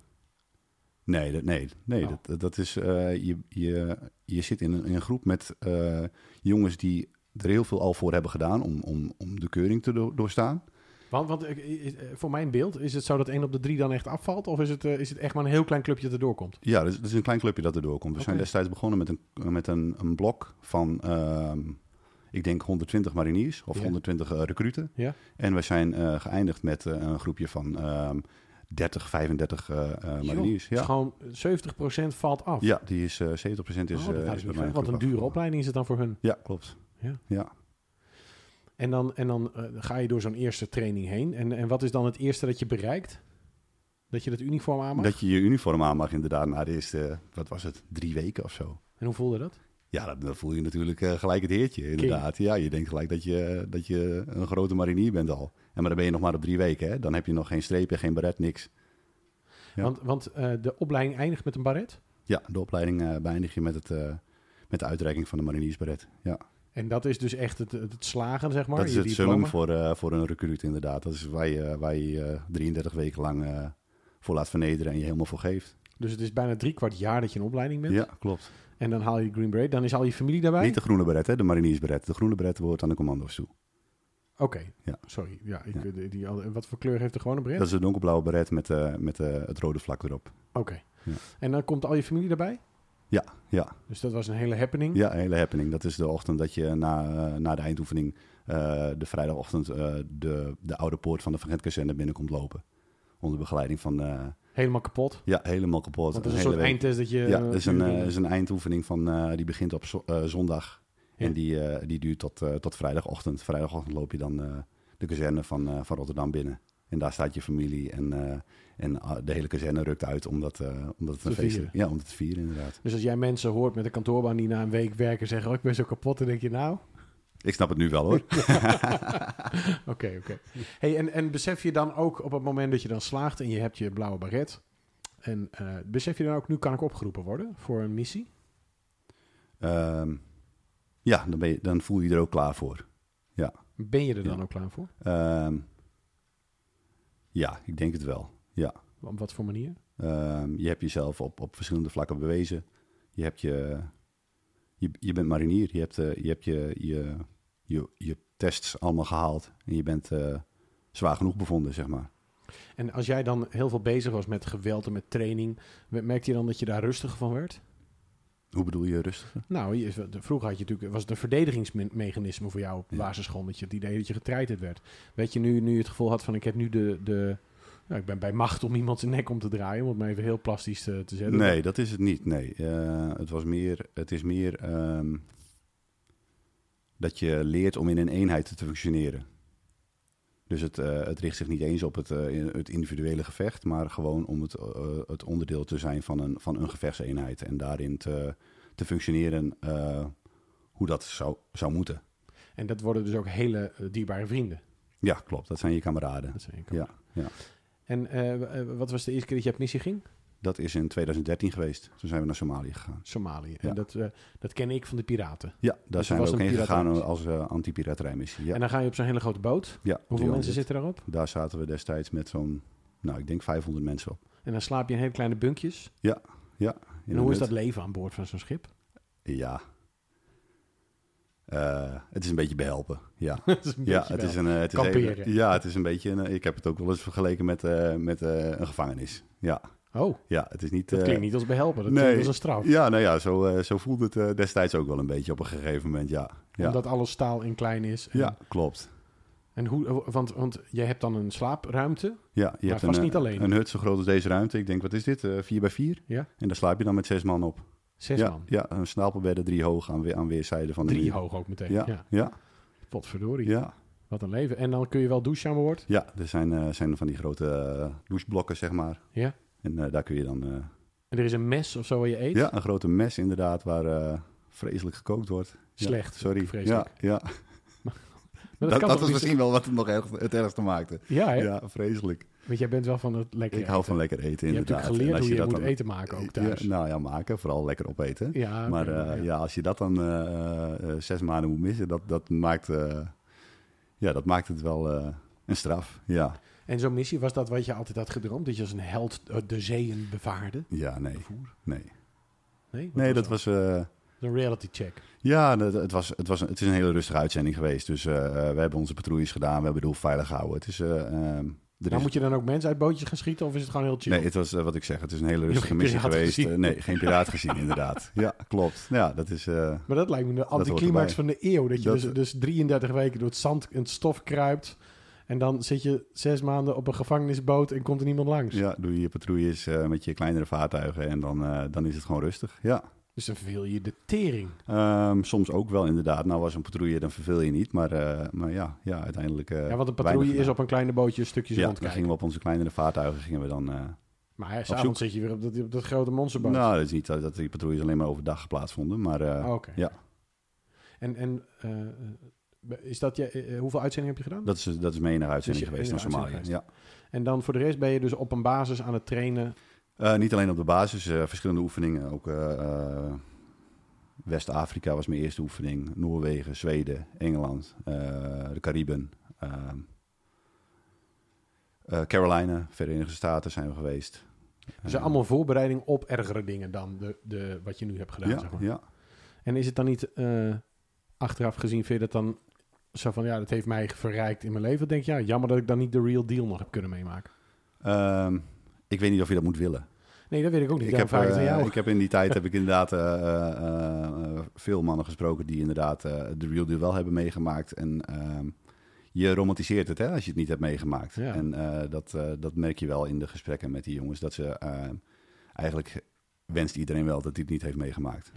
Speaker 2: Nee, dat, nee, nee.
Speaker 1: Oh.
Speaker 2: Dat, dat is, eh, je, je, je zit in een, in een groep met eh, jongens die er heel veel al voor hebben gedaan om, om, om de keuring te do- doorstaan.
Speaker 1: Want, want eh, is- eh, voor mijn beeld, is het zo dat 1 op de 3 dan echt afvalt? Of is het, eh, is het echt maar een heel klein clubje dat erdoor komt?
Speaker 2: Ja, dat is, dat is een klein clubje dat erdoor komt. We zijn
Speaker 1: Oké.
Speaker 2: destijds begonnen met een, met een, een blok van, ehm, ik denk 120 mariniers of
Speaker 1: Ja.
Speaker 2: 120 eh, recruten.
Speaker 1: Ja.
Speaker 2: En we zijn eh, geëindigd met eh, een groepje van ehm 30, 35 eh, eh, mariniers.
Speaker 1: Dus
Speaker 2: Ja.
Speaker 1: gewoon 70% valt af.
Speaker 2: ja, die is eh 70% is,
Speaker 1: Oh,
Speaker 2: eh,
Speaker 1: dat
Speaker 2: is
Speaker 1: hadden ze niet
Speaker 2: bij mij.
Speaker 1: gezegd. Wat een dure opleiding is het dan voor hun.
Speaker 2: Ja, klopt.
Speaker 1: En dan, en dan eh, ga je door zo'n eerste training heen. En, en wat is dan het eerste dat je bereikt? Dat je dat uniform aan mag?
Speaker 2: Dat je je uniform aan mag inderdaad na de eerste, eh, wat was het, drie weken of zo.
Speaker 1: En hoe voelde dat?
Speaker 2: Ja, dat- dan voel je natuurlijk eh, gelijk het heertje, inderdaad. Ja, je denkt gelijk dat je, dat je een grote marinier bent al. En maar dan ben je nog maar op drie weken, hè? Dan heb je nog geen streepje, geen baret, niks. Ja.
Speaker 1: Want, want eh, de opleiding eindigt met een baret.
Speaker 2: Ja, de opleiding eh, beëindig je met, het, eh, met de uitreiking van de mariniersbaret. Ja,
Speaker 1: En dat is dus echt het, het, het slagen, zeg maar.
Speaker 2: dat is
Speaker 1: je
Speaker 2: het summum
Speaker 1: diploma.
Speaker 2: voor, eh, voor een recruit inderdaad. Dat is waar je, waar je je 33 weken lang eh, voor laat vernederen en je helemaal voor geeft.
Speaker 1: Dus het is bijna drie kwart jaar dat je een opleiding bent.
Speaker 2: Ja, klopt.
Speaker 1: En dan haal je de Green Beret. Dan is al je familie daarbij.
Speaker 2: Niet de groene baret, hè? De mariniersbaret. De groene baret hoort aan de commando's toe.
Speaker 1: Oké,
Speaker 2: Ja.
Speaker 1: sorry. Ja, ik,
Speaker 2: Ja.
Speaker 1: eh, Die, die, en wat voor kleur heeft de gewone bret?
Speaker 2: Dat is de donkerblauwe baret met, eh, met eh, het rode vlak erop.
Speaker 1: Oké.
Speaker 2: Ja.
Speaker 1: En dan komt al je familie daarbij?
Speaker 2: Ja, ja.
Speaker 1: Dus dat was een hele happening.
Speaker 2: Ja, een hele happening. Dat is de ochtend dat je na, eh, na de eindoefening, eh, de vrijdagochtend, eh, de, de oude poort van de Vergentkazerne binnenkomt lopen. Onder begeleiding van, eh,
Speaker 1: Helemaal kapot.
Speaker 2: ja, helemaal kapot.
Speaker 1: Want dat is een
Speaker 2: Een hele
Speaker 1: soort
Speaker 2: week.
Speaker 1: eindtest dat je...
Speaker 2: Ja, dat is een, eh,
Speaker 1: eh,
Speaker 2: is een eindoefening van, eh, die begint op zo- eh, zondag.
Speaker 1: Ja.
Speaker 2: En die, eh, die duurt tot, eh, tot vrijdagochtend. Vrijdagochtend loop je dan eh, de kazerne van, eh, van Rotterdam binnen. En daar staat je familie en, eh, en ah, de hele kazerne rukt uit omdat, eh omdat het
Speaker 1: Te
Speaker 2: een feest is.
Speaker 1: vieren.
Speaker 2: Ja, om het te vieren inderdaad.
Speaker 1: Dus als jij mensen hoort met een kantoorbaan die na een week werken zeggen... Oh, ik ben zo kapot, dan denk je nou...
Speaker 2: Ik snap het nu wel hoor.
Speaker 1: Oké, oké. Hey, en, en besef je dan ook op het moment dat je dan slaagt en je hebt je blauwe baret... En eh, besef je dan ook, nu kan ik opgeroepen worden voor een missie?
Speaker 2: Ehm, ja, dan, ben je, dan voel je je er ook klaar voor.
Speaker 1: Ben je er dan
Speaker 2: Ja.
Speaker 1: ook klaar voor?
Speaker 2: Ehm, ja, ik denk het wel. Ja.
Speaker 1: Op wat voor manier?
Speaker 2: Ehm, je hebt jezelf op, op verschillende vlakken bewezen. Je, hebt je, je, je bent marinier. Je hebt, eh, je, hebt je, je, je, je tests allemaal gehaald. En je bent eh, zwaar genoeg bevonden, zeg maar.
Speaker 1: En als jij dan heel veel bezig was met geweld en met training... merkte je dan dat je daar rustiger van werd?
Speaker 2: Hoe bedoel je rustiger?
Speaker 1: Nou, je is- vroeger had je natuurlijk, was het een verdedigingsmechanisme voor jou op de
Speaker 2: Ja.
Speaker 1: basisschool. Dat je het idee dat je getreiterd werd. Weet je, nu, nu je het gevoel had van ik heb nu de, de, Nou, ik ben bij macht om iemand zijn nek om te draaien, om het maar even heel plastisch te, te zetten.
Speaker 2: Nee, dat is het niet. Nee, Eh, het, was meer, het is meer ehm, dat je leert om in een eenheid te functioneren. Dus het, eh, het richt zich niet eens op het, eh, in- het individuele gevecht, maar gewoon om het, eh, het onderdeel te zijn van een, van een gevechtseenheid. En daarin te, te functioneren eh, hoe dat zou, zou moeten.
Speaker 1: En dat worden dus ook hele eh, dierbare vrienden.
Speaker 2: Ja, klopt. Dat zijn je kameraden.
Speaker 1: Dat zijn je
Speaker 2: Ja, ja.
Speaker 1: En eh, eh, wat was de eerste keer dat je op missie ging?
Speaker 2: Dat is in 2013 geweest. Toen zijn we naar Somalië gegaan.
Speaker 1: Somalië.
Speaker 2: Ja.
Speaker 1: En dat, eh, dat ken ik van de piraten.
Speaker 2: Ja, daar
Speaker 1: Dus
Speaker 2: zijn
Speaker 1: er
Speaker 2: we
Speaker 1: was
Speaker 2: ook
Speaker 1: een
Speaker 2: heen gegaan
Speaker 1: piratenmissie.
Speaker 2: als eh, anti-piraterijmissie. Ja.
Speaker 1: En dan ga je op zo'n hele grote boot.
Speaker 2: Ja,
Speaker 1: Hoeveel
Speaker 2: 300.
Speaker 1: mensen zitten daarop?
Speaker 2: Daar zaten we destijds met zo'n, nou ik denk 500 mensen op.
Speaker 1: En dan slaap je in hele kleine bunkjes.
Speaker 2: In
Speaker 1: En
Speaker 2: een
Speaker 1: hoe is
Speaker 2: hut.
Speaker 1: dat leven aan boord van zo'n schip?
Speaker 2: Ja. Eh, het is een beetje behelpen, ja.
Speaker 1: Dat is een
Speaker 2: ja,
Speaker 1: beetje
Speaker 2: het
Speaker 1: wel.
Speaker 2: is een, eh, het is
Speaker 1: Kamperen.
Speaker 2: even- ja, het is een beetje, een, eh, ik heb het ook wel eens vergeleken met, eh, met eh, een gevangenis. Ja,
Speaker 1: Oh,
Speaker 2: ja, het is niet...
Speaker 1: dat
Speaker 2: eh,
Speaker 1: klinkt niet als behelpen. Dat
Speaker 2: nee.
Speaker 1: klinkt als een straf.
Speaker 2: Ja, nou ja, zo, eh, zo voelde het eh, destijds ook wel een beetje op een gegeven moment, ja. Ja,
Speaker 1: Omdat alles staal en klein is. En,
Speaker 2: ja klopt.
Speaker 1: en hoe, eh, want, want jij hebt dan een slaapruimte.
Speaker 2: Ja, je hebt
Speaker 1: vast
Speaker 2: een, eh,
Speaker 1: niet alleen.
Speaker 2: een hut zo groot als deze ruimte. Ik denk, wat is dit? eh 4 bij 4?
Speaker 1: Ja.
Speaker 2: En daar slaap je dan met zes man op.
Speaker 1: Zes
Speaker 2: ja,
Speaker 1: man.
Speaker 2: Ja, een stapelbedden, drie hoog aan, we- aan weerszijden van de
Speaker 1: Drie
Speaker 2: muur.
Speaker 1: hoog ook meteen. Ja.
Speaker 2: Ja, ja, ja,
Speaker 1: Potverdorie.
Speaker 2: ja.
Speaker 1: Wat een leven. En dan kun je wel douchen aan boord.
Speaker 2: er zijn, eh, zijn van die grote eh, doucheblokken, zeg maar.
Speaker 1: Ja.
Speaker 2: En eh, daar kun je dan... eh,
Speaker 1: En er is een mes of zo waar je eet.
Speaker 2: ja, een grote mes inderdaad, waar eh, vreselijk gekookt wordt. Ja,
Speaker 1: Slecht.
Speaker 2: sorry.
Speaker 1: Vreselijk.
Speaker 2: Ja, ja.
Speaker 1: Maar
Speaker 2: dat,
Speaker 1: kan toch
Speaker 2: dat was
Speaker 1: niet zo-
Speaker 2: misschien wel wat het nog erg, het ergste maakte.
Speaker 1: Ja, hè?
Speaker 2: Ja, vreselijk.
Speaker 1: want jij bent wel van het lekker
Speaker 2: Ik hou
Speaker 1: eten.
Speaker 2: van lekker eten,
Speaker 1: eh, Je hebt
Speaker 2: inderdaad.
Speaker 1: natuurlijk geleerd
Speaker 2: En als
Speaker 1: hoe je,
Speaker 2: dat
Speaker 1: moet
Speaker 2: dan-
Speaker 1: eten maken ook thuis.
Speaker 2: Ja, nou ja, maken. Vooral lekker opeten.
Speaker 1: Ja,
Speaker 2: Maar
Speaker 1: oké,
Speaker 2: eh,
Speaker 1: ja.
Speaker 2: ja, als je dat dan eh, eh, zes maanden moet missen, dat, dat, maakt, eh, ja, dat maakt het wel eh, een straf. Ja,
Speaker 1: En zo'n missie, was dat wat je altijd had gedroomd? Dat je als een held eh, de zeeën bevaarde?
Speaker 2: ja nee. Nee,
Speaker 1: Nee, Wat
Speaker 2: nee dat was. eh,
Speaker 1: Een reality check.
Speaker 2: ja, dat- het, was, het, was, een- het is een hele rustige uitzending geweest. Dus eh, eh, we hebben onze patrouilles gedaan, we hebben de doel veilig gehouden. Het is. eh, ehm, er
Speaker 1: Nou,
Speaker 2: is-
Speaker 1: moet je dan ook mensen uit bootjes gaan schieten? Of is het gewoon heel chill?
Speaker 2: Nee, het was eh, wat ik zeg. Het is een hele
Speaker 1: hebt
Speaker 2: rustige
Speaker 1: geen
Speaker 2: missie
Speaker 1: piraat
Speaker 2: geweest.
Speaker 1: gezien.
Speaker 2: Eh, nee, geen piraat gezien, inderdaad. Ja, klopt. Nou Ja, dat is. eh,
Speaker 1: Maar dat lijkt me de
Speaker 2: hoort
Speaker 1: anticlimax van de eeuw. Dat je
Speaker 2: Dat-
Speaker 1: dus, dus 33 weken door het zand en het stof kruipt. En dan zit je zes maanden op een gevangenisboot en komt er niemand langs.
Speaker 2: ja, doe je je patrouilles eh, met je kleinere vaartuigen en dan, eh, dan is het gewoon rustig. Ja.
Speaker 1: Dus dan verveel je de tering.
Speaker 2: Ehm, soms ook wel, inderdaad. Nou, als een patrouille, dan verveel je niet. Maar, eh, maar ja, ja, uiteindelijk. eh,
Speaker 1: ja, want een
Speaker 2: weinig
Speaker 1: patrouille is
Speaker 2: gedaan.
Speaker 1: op een kleine bootje stukjes
Speaker 2: Ja, dan
Speaker 1: rondkijken.
Speaker 2: gingen we op onze kleinere vaartuigen. Gingen we dan, eh,
Speaker 1: Maar ja,
Speaker 2: zoek.
Speaker 1: s'avonds zit je weer op dat, op dat grote monsterboot.
Speaker 2: nou, dat is niet dat, dat die patrouilles alleen maar overdag plaatsvonden. Maar eh,
Speaker 1: Ah, Oké.
Speaker 2: ja.
Speaker 1: En, en eh, is dat je, eh, hoeveel uitzendingen heb je gedaan?
Speaker 2: dat, is, dat is mijn enige uitzending
Speaker 1: je
Speaker 2: geweest naar
Speaker 1: enige
Speaker 2: Somalië.
Speaker 1: uitzending
Speaker 2: Ja.
Speaker 1: En dan voor de rest ben je dus op een basis aan het trainen.
Speaker 2: Eh, niet alleen op de basis, eh, verschillende oefeningen. Ook eh, eh, West-Afrika was mijn eerste oefening. Noorwegen, Zweden, Engeland, eh, de Cariben. ehm, eh, Carolina, Verenigde Staten zijn we geweest.
Speaker 1: Dus
Speaker 2: Eh,
Speaker 1: allemaal voorbereiding op ergere dingen dan de, de, wat je nu hebt gedaan.
Speaker 2: Eh, ja,
Speaker 1: zeg maar.
Speaker 2: ja.
Speaker 1: En is het dan niet eh, achteraf gezien, vind je dat dan zo van ja, dat heeft mij verrijkt in mijn leven? Dan Denk je, ja, jammer dat ik dan niet de real deal nog heb kunnen meemaken.
Speaker 2: Ehm, ik weet niet of je dat moet willen.
Speaker 1: Nee, dat weet ik ook niet.
Speaker 2: Ik
Speaker 1: Ik heb
Speaker 2: heb,
Speaker 1: vraag ik het aan
Speaker 2: eh,
Speaker 1: jou.
Speaker 2: ik heb in die tijd heb ik inderdaad eh, eh, eh, eh, veel mannen gesproken die inderdaad eh, de real deal wel hebben meegemaakt. En ehm, je romantiseert het hè, als je het niet hebt meegemaakt.
Speaker 1: Ja.
Speaker 2: En eh, dat, eh, dat merk je wel in de gesprekken met die jongens. Dat ze eh, eigenlijk wenst iedereen wel dat hij het niet heeft meegemaakt.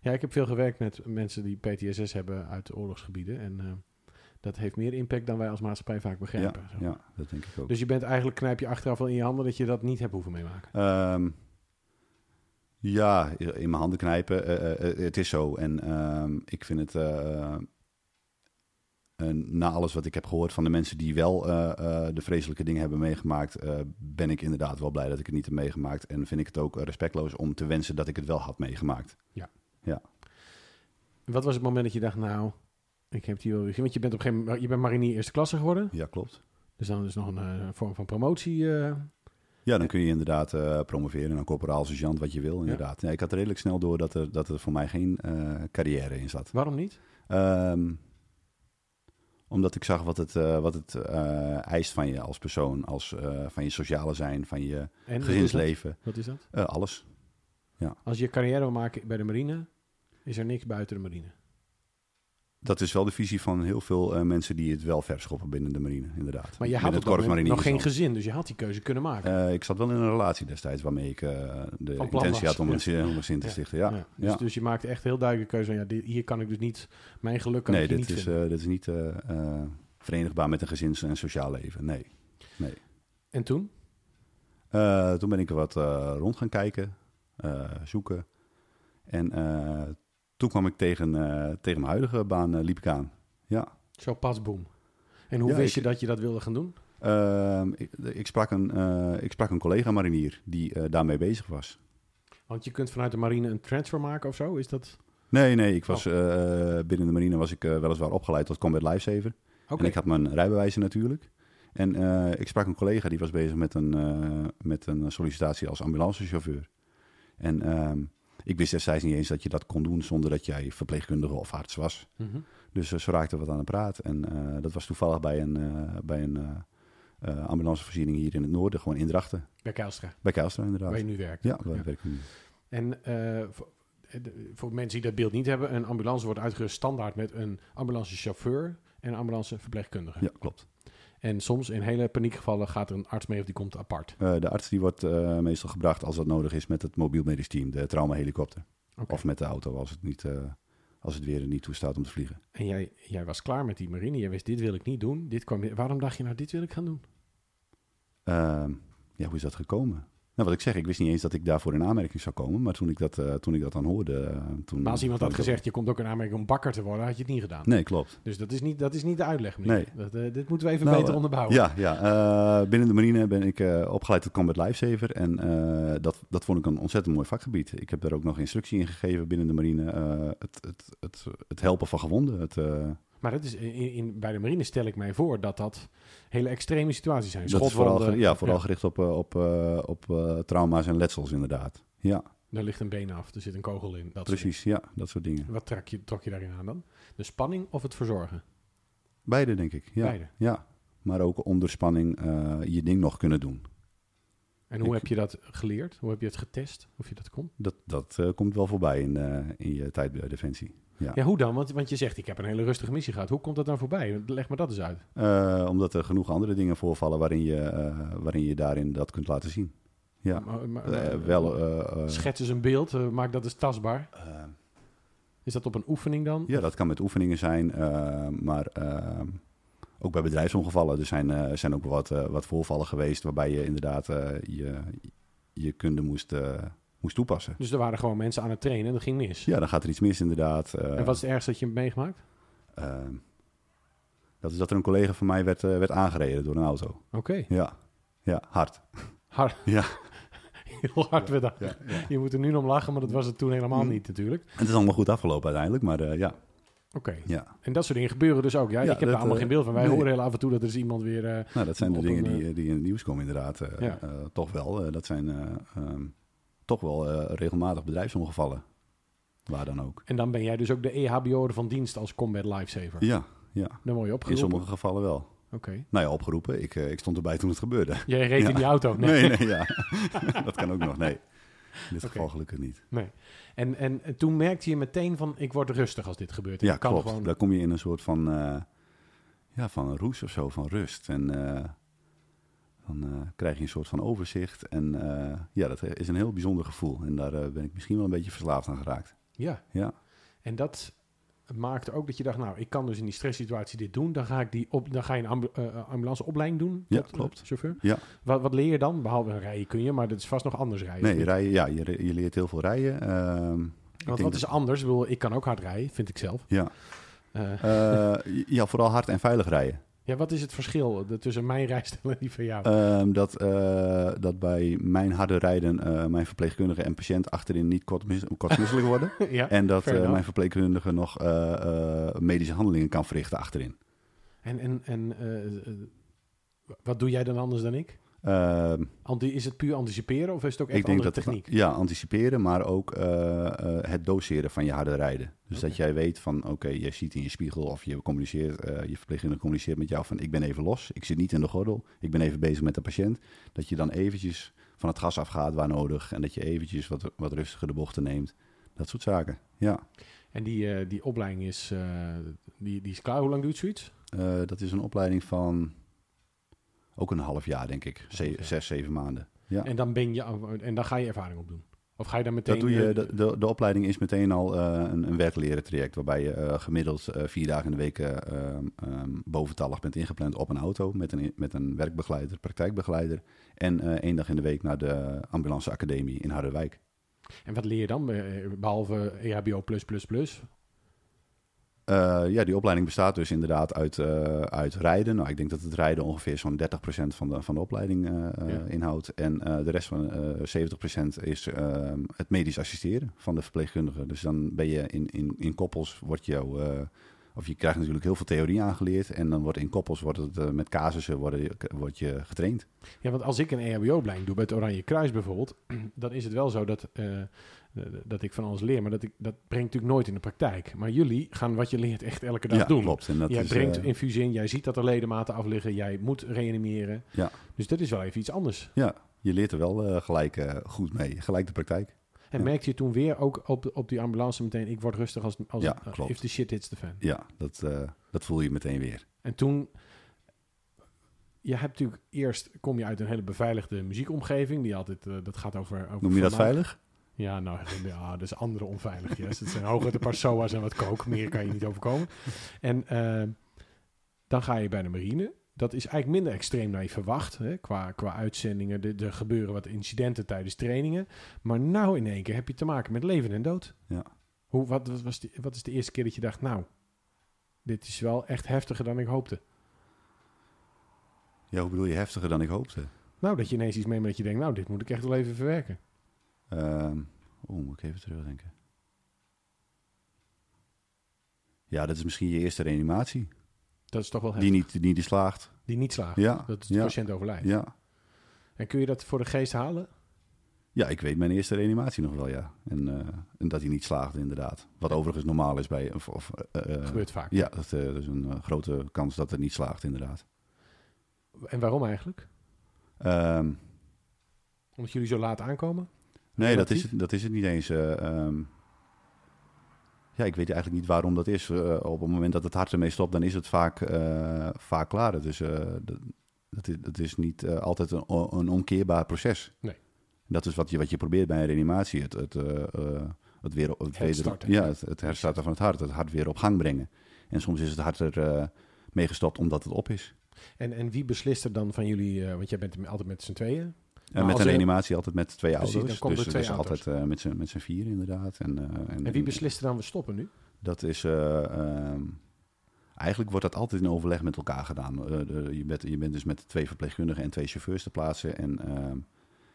Speaker 1: Ja, ik heb veel gewerkt met mensen die PTSS hebben uit de oorlogsgebieden. En eh, dat heeft meer impact dan wij als maatschappij vaak
Speaker 2: Ja,
Speaker 1: begrijpen. zeg maar.
Speaker 2: ja, dat denk ik ook.
Speaker 1: Dus je bent eigenlijk, knijp je achteraf wel in je handen dat je dat niet hebt hoeven meemaken.
Speaker 2: Ehm, ja, in mijn handen knijpen. eh, eh, eh, het is zo. En ehm, ik vind het. eh, eh, na alles wat ik heb gehoord van de mensen die wel eh, eh, de vreselijke dingen hebben meegemaakt, eh, ben ik inderdaad wel blij dat ik het niet heb meegemaakt. En vind ik het ook eh, respectloos om te wensen dat ik het wel had meegemaakt.
Speaker 1: Wat was het moment dat je dacht, nou, ik heb die wel weer gezien? Want je bent op een gegeven moment, je bent marinier eerste klasse geworden.
Speaker 2: Ja, klopt.
Speaker 1: Dus dan is nog een eh, vorm van promotie. eh.
Speaker 2: Ja, dan kun je inderdaad eh, promoveren naar corporaal, sergeant, wat je wil. Inderdaad. Ja, ik had redelijk snel door dat er, dat er voor mij geen eh, carrière in zat.
Speaker 1: Waarom niet?
Speaker 2: Ehm, omdat ik zag wat het, eh, wat het eh, eist van je als persoon, als, eh, van je sociale zijn, van je
Speaker 1: En
Speaker 2: gezinsleven,
Speaker 1: Wat is dat?
Speaker 2: eh, alles.
Speaker 1: Als je carrière wil maken bij de marine, is er niks buiten de marine.
Speaker 2: dat is wel de visie van heel veel eh, mensen die het wel verschoppen binnen de marine, inderdaad.
Speaker 1: Maar je had
Speaker 2: Binnen
Speaker 1: op dat
Speaker 2: korps
Speaker 1: moment nog geen
Speaker 2: mariniers dan.
Speaker 1: gezin, dus je had die keuze kunnen maken.
Speaker 2: Eh, ik zat wel in een relatie destijds waarmee ik eh, de
Speaker 1: Van plan
Speaker 2: intentie
Speaker 1: was,
Speaker 2: had om
Speaker 1: ja.
Speaker 2: een zin- om een zin te
Speaker 1: Ja.
Speaker 2: stichten. Ja.
Speaker 1: Ja, dus,
Speaker 2: Ja.
Speaker 1: dus je maakte echt heel duidelijke keuze. van, Ja, dit- hier kan ik dus niet, mijn geluk kan
Speaker 2: Nee,
Speaker 1: ik hier
Speaker 2: dit
Speaker 1: niet
Speaker 2: is,
Speaker 1: vinden.
Speaker 2: eh, dit is niet eh, eh, verenigbaar met een gezins- en sociaal leven. Nee.
Speaker 1: En toen?
Speaker 2: Eh, toen ben ik er wat eh, rond gaan kijken, eh, zoeken. En eh, toen kwam ik tegen, eh, tegen mijn huidige baan, eh, liep ik aan.
Speaker 1: Zo pas, boom. En hoe
Speaker 2: Ja,
Speaker 1: wist
Speaker 2: ik-
Speaker 1: je dat je dat wilde gaan doen?
Speaker 2: Ehm, ik, ik, sprak een, eh, ik sprak een collega marinier die eh, daarmee bezig was.
Speaker 1: Want je kunt vanuit de marine een transfer maken of zo, is dat...
Speaker 2: Nee, nee, ik was, eh, binnen de marine was ik eh, weliswaar opgeleid tot combat lifesaver.
Speaker 1: Oké,
Speaker 2: En ik had mijn rijbewijzen natuurlijk. En eh, ik sprak een collega die was bezig met een, eh, met een sollicitatie als ambulancechauffeur. En ehm, ik wist destijds niet eens dat je dat kon doen zonder dat jij verpleegkundige of arts was.
Speaker 1: Mhm.
Speaker 2: Dus eh, ze raakten wat aan de praat. En eh, dat was toevallig bij een, eh, bij een eh, eh, ambulancevoorziening hier in het noorden, gewoon in Drachten.
Speaker 1: bij Keilstra,
Speaker 2: Bij Keilstra inderdaad.
Speaker 1: waar je nu werkt.
Speaker 2: Ja, daar
Speaker 1: Ja.
Speaker 2: werk ik nu.
Speaker 1: En eh, voor, eh, de- voor mensen die dat beeld niet hebben, een ambulance wordt uitgerust standaard met een ambulancechauffeur en een ambulanceverpleegkundige.
Speaker 2: Ja, klopt.
Speaker 1: En soms in hele paniekgevallen gaat er een arts mee of die komt apart.
Speaker 2: Eh, de arts die wordt eh, meestal gebracht als dat nodig is met het mobiel medisch team, de traumahelikopter.
Speaker 1: Oké.
Speaker 2: Of met de auto als het, niet, eh, als het weer niet toestaat om te vliegen.
Speaker 1: En jij, jij was klaar met die marine, jij wist dit wil ik niet doen. Dit kwam, waarom dacht je nou dit wil ik gaan doen?
Speaker 2: Ehm, ja, hoe is dat gekomen? Nou, wat ik zeg, ik wist niet eens dat ik daarvoor in aanmerking zou komen. Maar toen ik dat, eh, toen ik dat dan hoorde... eh, toen,
Speaker 1: Maar als iemand had
Speaker 2: ik-
Speaker 1: gezegd, je komt ook in aanmerking om bakker te worden, had je het niet gedaan.
Speaker 2: Nee, klopt.
Speaker 1: Dus dat is niet, dat is niet de uitleg, meneer.
Speaker 2: Nee.
Speaker 1: Dat, eh, dit moeten we even
Speaker 2: Nou,
Speaker 1: beter
Speaker 2: eh,
Speaker 1: onderbouwen.
Speaker 2: Ja, ja. eh, binnen de marine ben ik eh, opgeleid tot Combat Lifesaver. En eh, dat, dat vond ik een ontzettend mooi vakgebied. Ik heb daar ook nog instructie in gegeven binnen de marine. eh, het, het, het, het helpen van gewonden. Het, eh,
Speaker 1: Maar dat is, in, in, bij de marine stel ik mij voor dat dat hele extreme situaties zijn.
Speaker 2: dat is vooral,
Speaker 1: Schotwonden,
Speaker 2: ge- ja, vooral gericht op, eh, op, eh, op eh, trauma's en letsels inderdaad. Ja,
Speaker 1: Daar ligt een been af, er zit een kogel in. Dat soort
Speaker 2: precies. Ja, dat soort dingen.
Speaker 1: dingen. Wat trok je, trok je daarin aan dan? De spanning of het verzorgen?
Speaker 2: Beide, denk ik. Ja.
Speaker 1: Beide.
Speaker 2: Ja, maar ook onder spanning eh, je ding nog kunnen doen.
Speaker 1: En hoe
Speaker 2: Ik-
Speaker 1: heb je dat geleerd? Hoe heb je het getest? Of je dat kon?
Speaker 2: Dat, dat eh, komt wel voorbij in, eh, in je tijd bij Defensie. Ja.
Speaker 1: Ja, hoe dan? Want, want je zegt, ik heb een hele rustige missie gehad. Hoe komt dat dan voorbij? Leg me dat eens uit.
Speaker 2: Eh, omdat er genoeg andere dingen voorvallen waarin je, eh, waarin je daarin dat kunt laten zien. Ja,
Speaker 1: Maar- maar-
Speaker 2: Eh, wel. eh, eh,
Speaker 1: Schets eens een beeld, eh, maak dat eens tastbaar.
Speaker 2: eh,
Speaker 1: Is dat op een oefening dan?
Speaker 2: ja, dat kan met oefeningen zijn, eh, maar eh, ook bij bedrijfsongevallen. Er zijn, eh, zijn ook wat, eh, wat voorvallen geweest waarbij je inderdaad eh, je, je kunde moest, eh, moest toepassen.
Speaker 1: Dus er waren gewoon mensen aan het trainen en dat ging mis.
Speaker 2: Ja, dan gaat er iets mis inderdaad. eh,
Speaker 1: En wat is het ergste dat je hebt meegemaakt?
Speaker 2: Ehm, dat is dat er een collega van mij werd, eh, werd aangereden door een auto.
Speaker 1: Oké.
Speaker 2: Ja, ja hard.
Speaker 1: Hard.
Speaker 2: Ja.
Speaker 1: Heel hard weer dan. Je moet er nu om lachen, maar dat was het toen helemaal
Speaker 2: Mm.
Speaker 1: niet natuurlijk. Oké.
Speaker 2: Het is allemaal goed afgelopen uiteindelijk, maar eh, ja. ja.
Speaker 1: En dat soort dingen gebeuren dus ook. Ja,
Speaker 2: Ja,
Speaker 1: ik heb
Speaker 2: dat,
Speaker 1: daar allemaal
Speaker 2: eh,
Speaker 1: geen beeld van. Wij
Speaker 2: nee.
Speaker 1: horen heel af en toe dat er is iemand weer... eh,
Speaker 2: Nou, dat zijn de
Speaker 1: Op
Speaker 2: dingen
Speaker 1: een,
Speaker 2: die, eh, die in het nieuws komen inderdaad. eh,
Speaker 1: Ja.
Speaker 2: eh, toch wel. Eh, dat zijn eh, ehm, toch wel eh, regelmatig bedrijfsongevallen. Waar dan ook.
Speaker 1: en dan ben jij dus ook de EHBO'er van dienst als Combat Lifesaver.
Speaker 2: Ja, ja.
Speaker 1: Dan word je
Speaker 2: In
Speaker 1: opgeroepen.
Speaker 2: sommige gevallen wel.
Speaker 1: Oké.
Speaker 2: Nou ja, opgeroepen. Ik, eh, ik stond erbij toen het gebeurde.
Speaker 1: Jij reed
Speaker 2: Ja.
Speaker 1: in die auto. Nee.
Speaker 2: Nee, nee, ja. dat kan ook nog. Nee. In dit geval gelukkig niet.
Speaker 1: En, en, en toen merkte je meteen van, ik word rustig als dit gebeurt. En
Speaker 2: Ja,
Speaker 1: ik kan
Speaker 2: klopt.
Speaker 1: gewoon-
Speaker 2: Daar kom je in een soort van, eh, ja, van roes of zo, van rust. En eh, dan eh, krijg je een soort van overzicht. En eh, ja, dat is een heel bijzonder gevoel. En daar eh, ben ik misschien wel een beetje verslaafd aan geraakt.
Speaker 1: Ja.
Speaker 2: Ja.
Speaker 1: En dat maakte ook dat je dacht, nou, ik kan dus in die stresssituatie dit doen. Dan ga, ik die op, dan ga je een ambu- eh, ambulanceopleiding doen.
Speaker 2: Ja,
Speaker 1: eh,
Speaker 2: klopt.
Speaker 1: chauffeur.
Speaker 2: Ja.
Speaker 1: Wat, wat leer je dan? Behalve rijden kun je, maar dat is vast nog anders rijden.
Speaker 2: Nee, rijden, ja, je, re- je leert heel veel rijden. Ehm, ik
Speaker 1: Want
Speaker 2: denk
Speaker 1: wat is anders? Ik, bedoel, ik kan ook hard rijden, vind ik zelf.
Speaker 2: Ja.
Speaker 1: Eh,
Speaker 2: eh, ja, vooral hard en veilig rijden.
Speaker 1: ja, wat is het verschil eh, tussen mijn rijstijl en die van jou?
Speaker 2: Ehm, dat, eh, dat bij mijn harde rijden eh, mijn verpleegkundige en patiënt achterin niet kortmis- kortmisselijk worden.
Speaker 1: ja.
Speaker 2: En dat
Speaker 1: fair
Speaker 2: eh,
Speaker 1: enough.
Speaker 2: mijn verpleegkundige nog eh, eh, medische handelingen kan verrichten achterin.
Speaker 1: En, en, en eh, eh, wat doe jij dan anders dan ik?
Speaker 2: Ehm,
Speaker 1: Anti is het puur anticiperen of is het ook echt
Speaker 2: ik denk
Speaker 1: andere
Speaker 2: dat
Speaker 1: techniek?
Speaker 2: Het, ja, anticiperen, maar ook eh, eh, het doseren van je harde rijden. Dus
Speaker 1: Oké.
Speaker 2: dat jij weet van, oké, je ziet in je spiegel of je communiceert, eh, je verpleegkundige communiceert met jou van, ik ben even los, ik zit niet in de gordel, ik ben even bezig met de patiënt. Dat je dan eventjes van het gas afgaat waar nodig en dat je eventjes wat, wat rustiger de bochten neemt. Dat soort zaken, ja.
Speaker 1: En die, eh, die opleiding is, eh, die, die is klaar. Hoe lang duurt zoiets?
Speaker 2: Eh, dat is een opleiding van ook een half jaar, denk ik. Ze-
Speaker 1: Half jaar.
Speaker 2: zes, zeven maanden. Ja.
Speaker 1: En, dan ben je, en dan ga je ervaring opdoen. Of ga je dan meteen...
Speaker 2: Dat doe je,
Speaker 1: eh,
Speaker 2: de, de, de opleiding is meteen al eh, een, een werkleren traject... waarbij je eh, gemiddeld eh, vier dagen in de week eh, ehm, ehm, boventallig bent ingepland op een auto... met een, met een werkbegeleider, praktijkbegeleider... en eh, één dag in de week naar de ambulanceacademie in Harderwijk.
Speaker 1: En wat leer je dan, eh, behalve EHBO+++?
Speaker 2: Eh, ja, die opleiding bestaat dus inderdaad uit, eh, uit rijden. Nou, ik denk dat het rijden ongeveer zo'n 30% van de, van de opleiding eh, eh,
Speaker 1: Ja.
Speaker 2: inhoudt. En eh, de rest van eh 70% is eh, het medisch assisteren van de verpleegkundige. Dus dan ben je in, in, in koppels, wordt jou, eh, of je krijgt natuurlijk heel veel theorie aangeleerd. En dan wordt in koppels, wordt het, eh, met casussen, wordt je, wordt je getraind.
Speaker 1: Ja, want als ik een E EHBO-opleiding doe bij het Oranje Kruis bijvoorbeeld... dan is het wel zo dat, eh, dat ik van alles leer. Maar dat, ik, dat breng ik natuurlijk nooit in de praktijk. Maar jullie gaan wat je leert echt elke dag
Speaker 2: ja,
Speaker 1: doen.
Speaker 2: klopt. En dat
Speaker 1: jij
Speaker 2: is,
Speaker 1: brengt
Speaker 2: eh,
Speaker 1: infusie in, jij ziet dat er ledematen afliggen, jij moet reanimeren.
Speaker 2: Ja.
Speaker 1: Dus dat is wel even iets anders.
Speaker 2: je leert er wel eh, gelijk eh, goed mee, gelijk de praktijk.
Speaker 1: En
Speaker 2: Ja.
Speaker 1: merkte je toen weer ook op, op die ambulance meteen, ik word rustig als, als eh,
Speaker 2: Ja, klopt.
Speaker 1: if the shit hits the fan.
Speaker 2: Ja, dat, eh, dat voel je meteen weer.
Speaker 1: En toen, je hebt natuurlijk eerst, kom je uit een hele beveiligde muziekomgeving, die altijd, eh, dat gaat over... over
Speaker 2: Noem je dat
Speaker 1: vermaak.
Speaker 2: veilig?
Speaker 1: Ja, nou, ja, dat is andere onveiligjes. Het zijn hooguit een paar soa's en wat kook. Meer kan je niet overkomen. En eh, dan ga je bij de marine. Dat is eigenlijk minder extreem dan je verwacht. Hè? Qua, qua uitzendingen, er- er gebeuren wat incidenten tijdens trainingen. Maar nou in één keer heb je te maken met leven en dood.
Speaker 2: Ja.
Speaker 1: Hoe, wat, wat, was die- wat is de eerste keer dat je dacht, nou, dit is wel echt heftiger dan ik hoopte.
Speaker 2: Ja, hoe bedoel je heftiger dan ik hoopte?
Speaker 1: Nou, dat je ineens iets meemaakt dat je denkt, nou, dit moet ik echt wel even verwerken.
Speaker 2: Ehm Oeh, moet ik even terugdenken. Ja, dat is misschien je eerste reanimatie.
Speaker 1: Dat is toch wel heftig.
Speaker 2: Die niet, die, die slaagt.
Speaker 1: Die niet slagen.
Speaker 2: Ja,
Speaker 1: Dat de
Speaker 2: ja,
Speaker 1: patiënt overlijdt.
Speaker 2: ja.
Speaker 1: En kun je dat voor de geest halen?
Speaker 2: ja, ik weet mijn eerste reanimatie nog wel, ja. En, eh, en dat hij niet slaagde, inderdaad. Wat overigens normaal is bij... Of, of, eh, eh,
Speaker 1: Gebeurt vaak.
Speaker 2: ja, dat, eh, dat is een eh, grote kans dat het niet slaagt, inderdaad.
Speaker 1: En waarom eigenlijk?
Speaker 2: Ehm,
Speaker 1: Omdat jullie zo laat aankomen?
Speaker 2: Nee, dat is,
Speaker 1: Relatief?
Speaker 2: het, dat is het niet eens. eh, ehm. ja, ik weet eigenlijk niet waarom dat is. Eh, op het moment dat het hart ermee stopt, dan is het vaak, eh, vaak klaar. Dus eh, dat, dat, is, dat is niet eh, altijd een, o- een omkeerbaar proces.
Speaker 1: Nee.
Speaker 2: Dat is wat je, wat je probeert bij een reanimatie. Het, het, eh, eh, het, weer, het, weder-
Speaker 1: Herstarten.
Speaker 2: ja, het, het herstarten van het hart. Het hart weer op gang brengen. En soms is het hart er eh, mee gestopt omdat het op is.
Speaker 1: En, en wie beslist er dan van jullie, eh, want jij bent altijd met z'n tweeën.
Speaker 2: En
Speaker 1: Maar
Speaker 2: met
Speaker 1: Nou, als
Speaker 2: een
Speaker 1: er-
Speaker 2: reanimatie altijd met twee
Speaker 1: Precies,
Speaker 2: auto's.
Speaker 1: dan komen
Speaker 2: dus
Speaker 1: er twee
Speaker 2: dus
Speaker 1: auto's.
Speaker 2: altijd eh, met z'n- met z'n vier inderdaad. En, eh, en,
Speaker 1: En wie beslist er dan, we stoppen nu?
Speaker 2: Dat is. eh, ehm, eigenlijk wordt dat altijd in overleg met elkaar gedaan. Eh, de- je, bent, je bent dus met twee verpleegkundigen en twee chauffeurs te plaatsen. En ehm,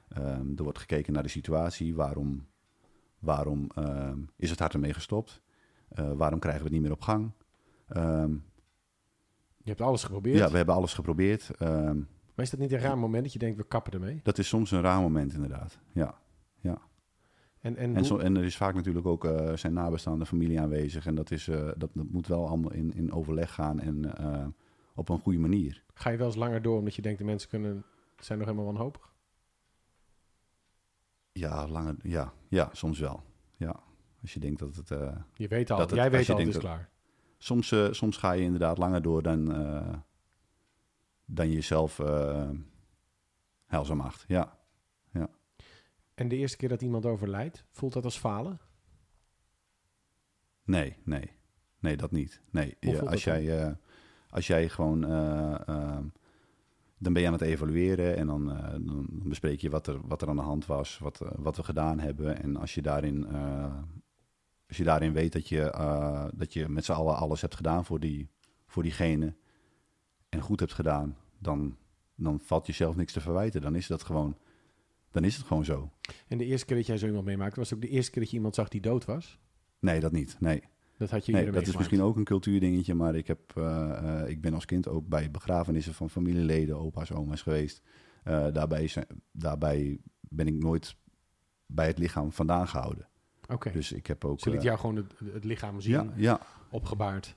Speaker 2: ehm, er wordt gekeken naar de situatie. Waarom, waarom ehm, is het hart ermee gestopt? Eh, waarom krijgen we het niet meer op gang? Ehm,
Speaker 1: Je hebt alles geprobeerd.
Speaker 2: ja, we hebben alles geprobeerd. Ehm,
Speaker 1: Maar is dat niet een raar moment dat je denkt, we kappen ermee?
Speaker 2: dat is soms een raar moment, inderdaad. Ja.
Speaker 1: En, en,
Speaker 2: En,
Speaker 1: hoe-
Speaker 2: zo, en er is vaak natuurlijk ook eh, zijn nabestaande familie aanwezig. En dat, is, eh, dat, dat moet wel allemaal in, in overleg gaan en eh, op een goede manier.
Speaker 1: ga je wel eens langer door omdat je denkt, de mensen kunnen, zijn nog helemaal wanhopig?
Speaker 2: Ja, langer, ja, ja, soms wel. Ja. Als je denkt dat het. eh,
Speaker 1: Je weet al,
Speaker 2: Dat het-
Speaker 1: jij
Speaker 2: als
Speaker 1: weet
Speaker 2: je
Speaker 1: al, het is
Speaker 2: denkt
Speaker 1: klaar.
Speaker 2: soms, eh, soms ga je inderdaad langer door dan, eh, dan jezelf eh heilzaam acht. Ja.
Speaker 1: En de eerste keer dat iemand overlijdt, voelt dat als falen?
Speaker 2: Nee, nee. Nee, dat niet. Nee.
Speaker 1: Hoe
Speaker 2: Ja,
Speaker 1: voelt
Speaker 2: als,
Speaker 1: dat
Speaker 2: jij, eh, als jij gewoon. eh, eh, dan ben je aan het evalueren en dan, eh, dan bespreek je wat er, wat er aan de hand was, wat, eh, wat we gedaan hebben. En als je daarin, eh, als je daarin weet dat je, eh, dat je met z'n allen alles hebt gedaan voor, die, voor diegene en goed hebt gedaan, dan, dan valt jezelf niks te verwijten. Dan is, dat gewoon, dan is het gewoon zo.
Speaker 1: En de eerste keer dat jij zo iemand meemaakte, was het ook de eerste keer dat je iemand zag die dood was?
Speaker 2: Nee, dat niet. Nee.
Speaker 1: Dat had je
Speaker 2: Nee,
Speaker 1: eerder
Speaker 2: dat is
Speaker 1: meegemaakt.
Speaker 2: misschien ook een cultuurdingetje, maar ik, heb, eh, eh, ik ben als kind ook bij begrafenissen van familieleden, opa's, oma's geweest. Eh, daarbij, zijn, daarbij ben ik nooit bij het lichaam vandaan gehouden.
Speaker 1: Oké,
Speaker 2: Dus ik heb ook.
Speaker 1: ze liet
Speaker 2: eh,
Speaker 1: jou gewoon het, het lichaam zien,
Speaker 2: ja, ja,
Speaker 1: opgebaard.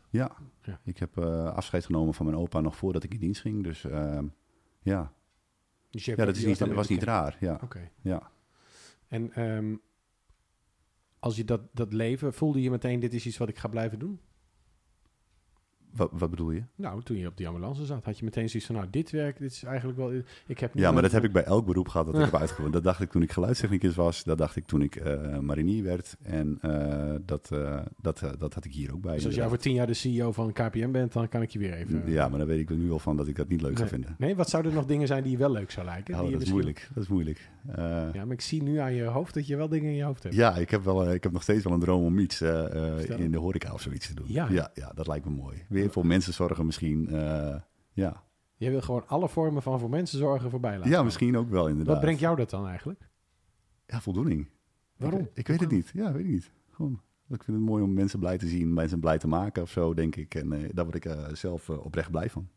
Speaker 2: ik heb eh, afscheid genomen van mijn opa nog voordat ik in dienst ging. Dus ehm, ja.
Speaker 1: Dus je hebt-
Speaker 2: ja, dat
Speaker 1: je
Speaker 2: is niet,
Speaker 1: daarmee
Speaker 2: was niet
Speaker 1: bekend.
Speaker 2: raar. Ja.
Speaker 1: Oké.
Speaker 2: Ja.
Speaker 1: En ehm, als je dat, dat leven, voelde je meteen dit is iets wat ik ga blijven doen?
Speaker 2: Wat, wat bedoel je?
Speaker 1: Nou, toen je op die ambulance zat, had je meteen zoiets van, nou, dit werk, dit is eigenlijk wel... Ik heb nu
Speaker 2: Ja, maar dat
Speaker 1: een-
Speaker 2: heb ik bij elk beroep gehad dat ik
Speaker 1: Ja.
Speaker 2: heb uitgevoerd. Dat dacht ik toen ik geluidstechnicus was. Dat dacht ik toen ik eh, marinier werd. En eh, dat, eh, dat, eh, dat had ik hier ook bij.
Speaker 1: Dus als jij
Speaker 2: inderdaad.
Speaker 1: over tien jaar de CEO van KPM bent, dan kan ik je weer even...
Speaker 2: Ja, maar dan weet ik er nu al van dat ik dat niet leuk
Speaker 1: nee.
Speaker 2: ga vinden.
Speaker 1: Nee, wat zouden er nog dingen zijn die je wel leuk zou lijken?
Speaker 2: Oh,
Speaker 1: die
Speaker 2: dat
Speaker 1: je
Speaker 2: is
Speaker 1: misschien-
Speaker 2: moeilijk. Dat is moeilijk. Eh, ja.
Speaker 1: Ja, maar ik zie nu aan je hoofd dat je wel dingen in je hoofd hebt.
Speaker 2: ik heb, wel, eh, ik heb nog steeds wel een droom om iets eh, eh,
Speaker 1: Vertel.
Speaker 2: in de horeca of zoiets te doen.
Speaker 1: Ja.
Speaker 2: Ja, dat lijkt me mooi. Weer voor mensen zorgen misschien. eh, ja.
Speaker 1: Jij wil gewoon alle vormen van voor mensen zorgen voorbij laten.
Speaker 2: ja,
Speaker 1: gaan.
Speaker 2: misschien ook wel inderdaad.
Speaker 1: Wat brengt jou dat dan eigenlijk?
Speaker 2: Ja, voldoening.
Speaker 1: Waarom?
Speaker 2: Ik, ik weet het niet. Ja, weet ik niet. Gewoon. Ik vind het mooi om mensen blij te zien, mensen blij te maken of zo, denk ik. En eh, daar word ik eh, zelf eh, oprecht blij van.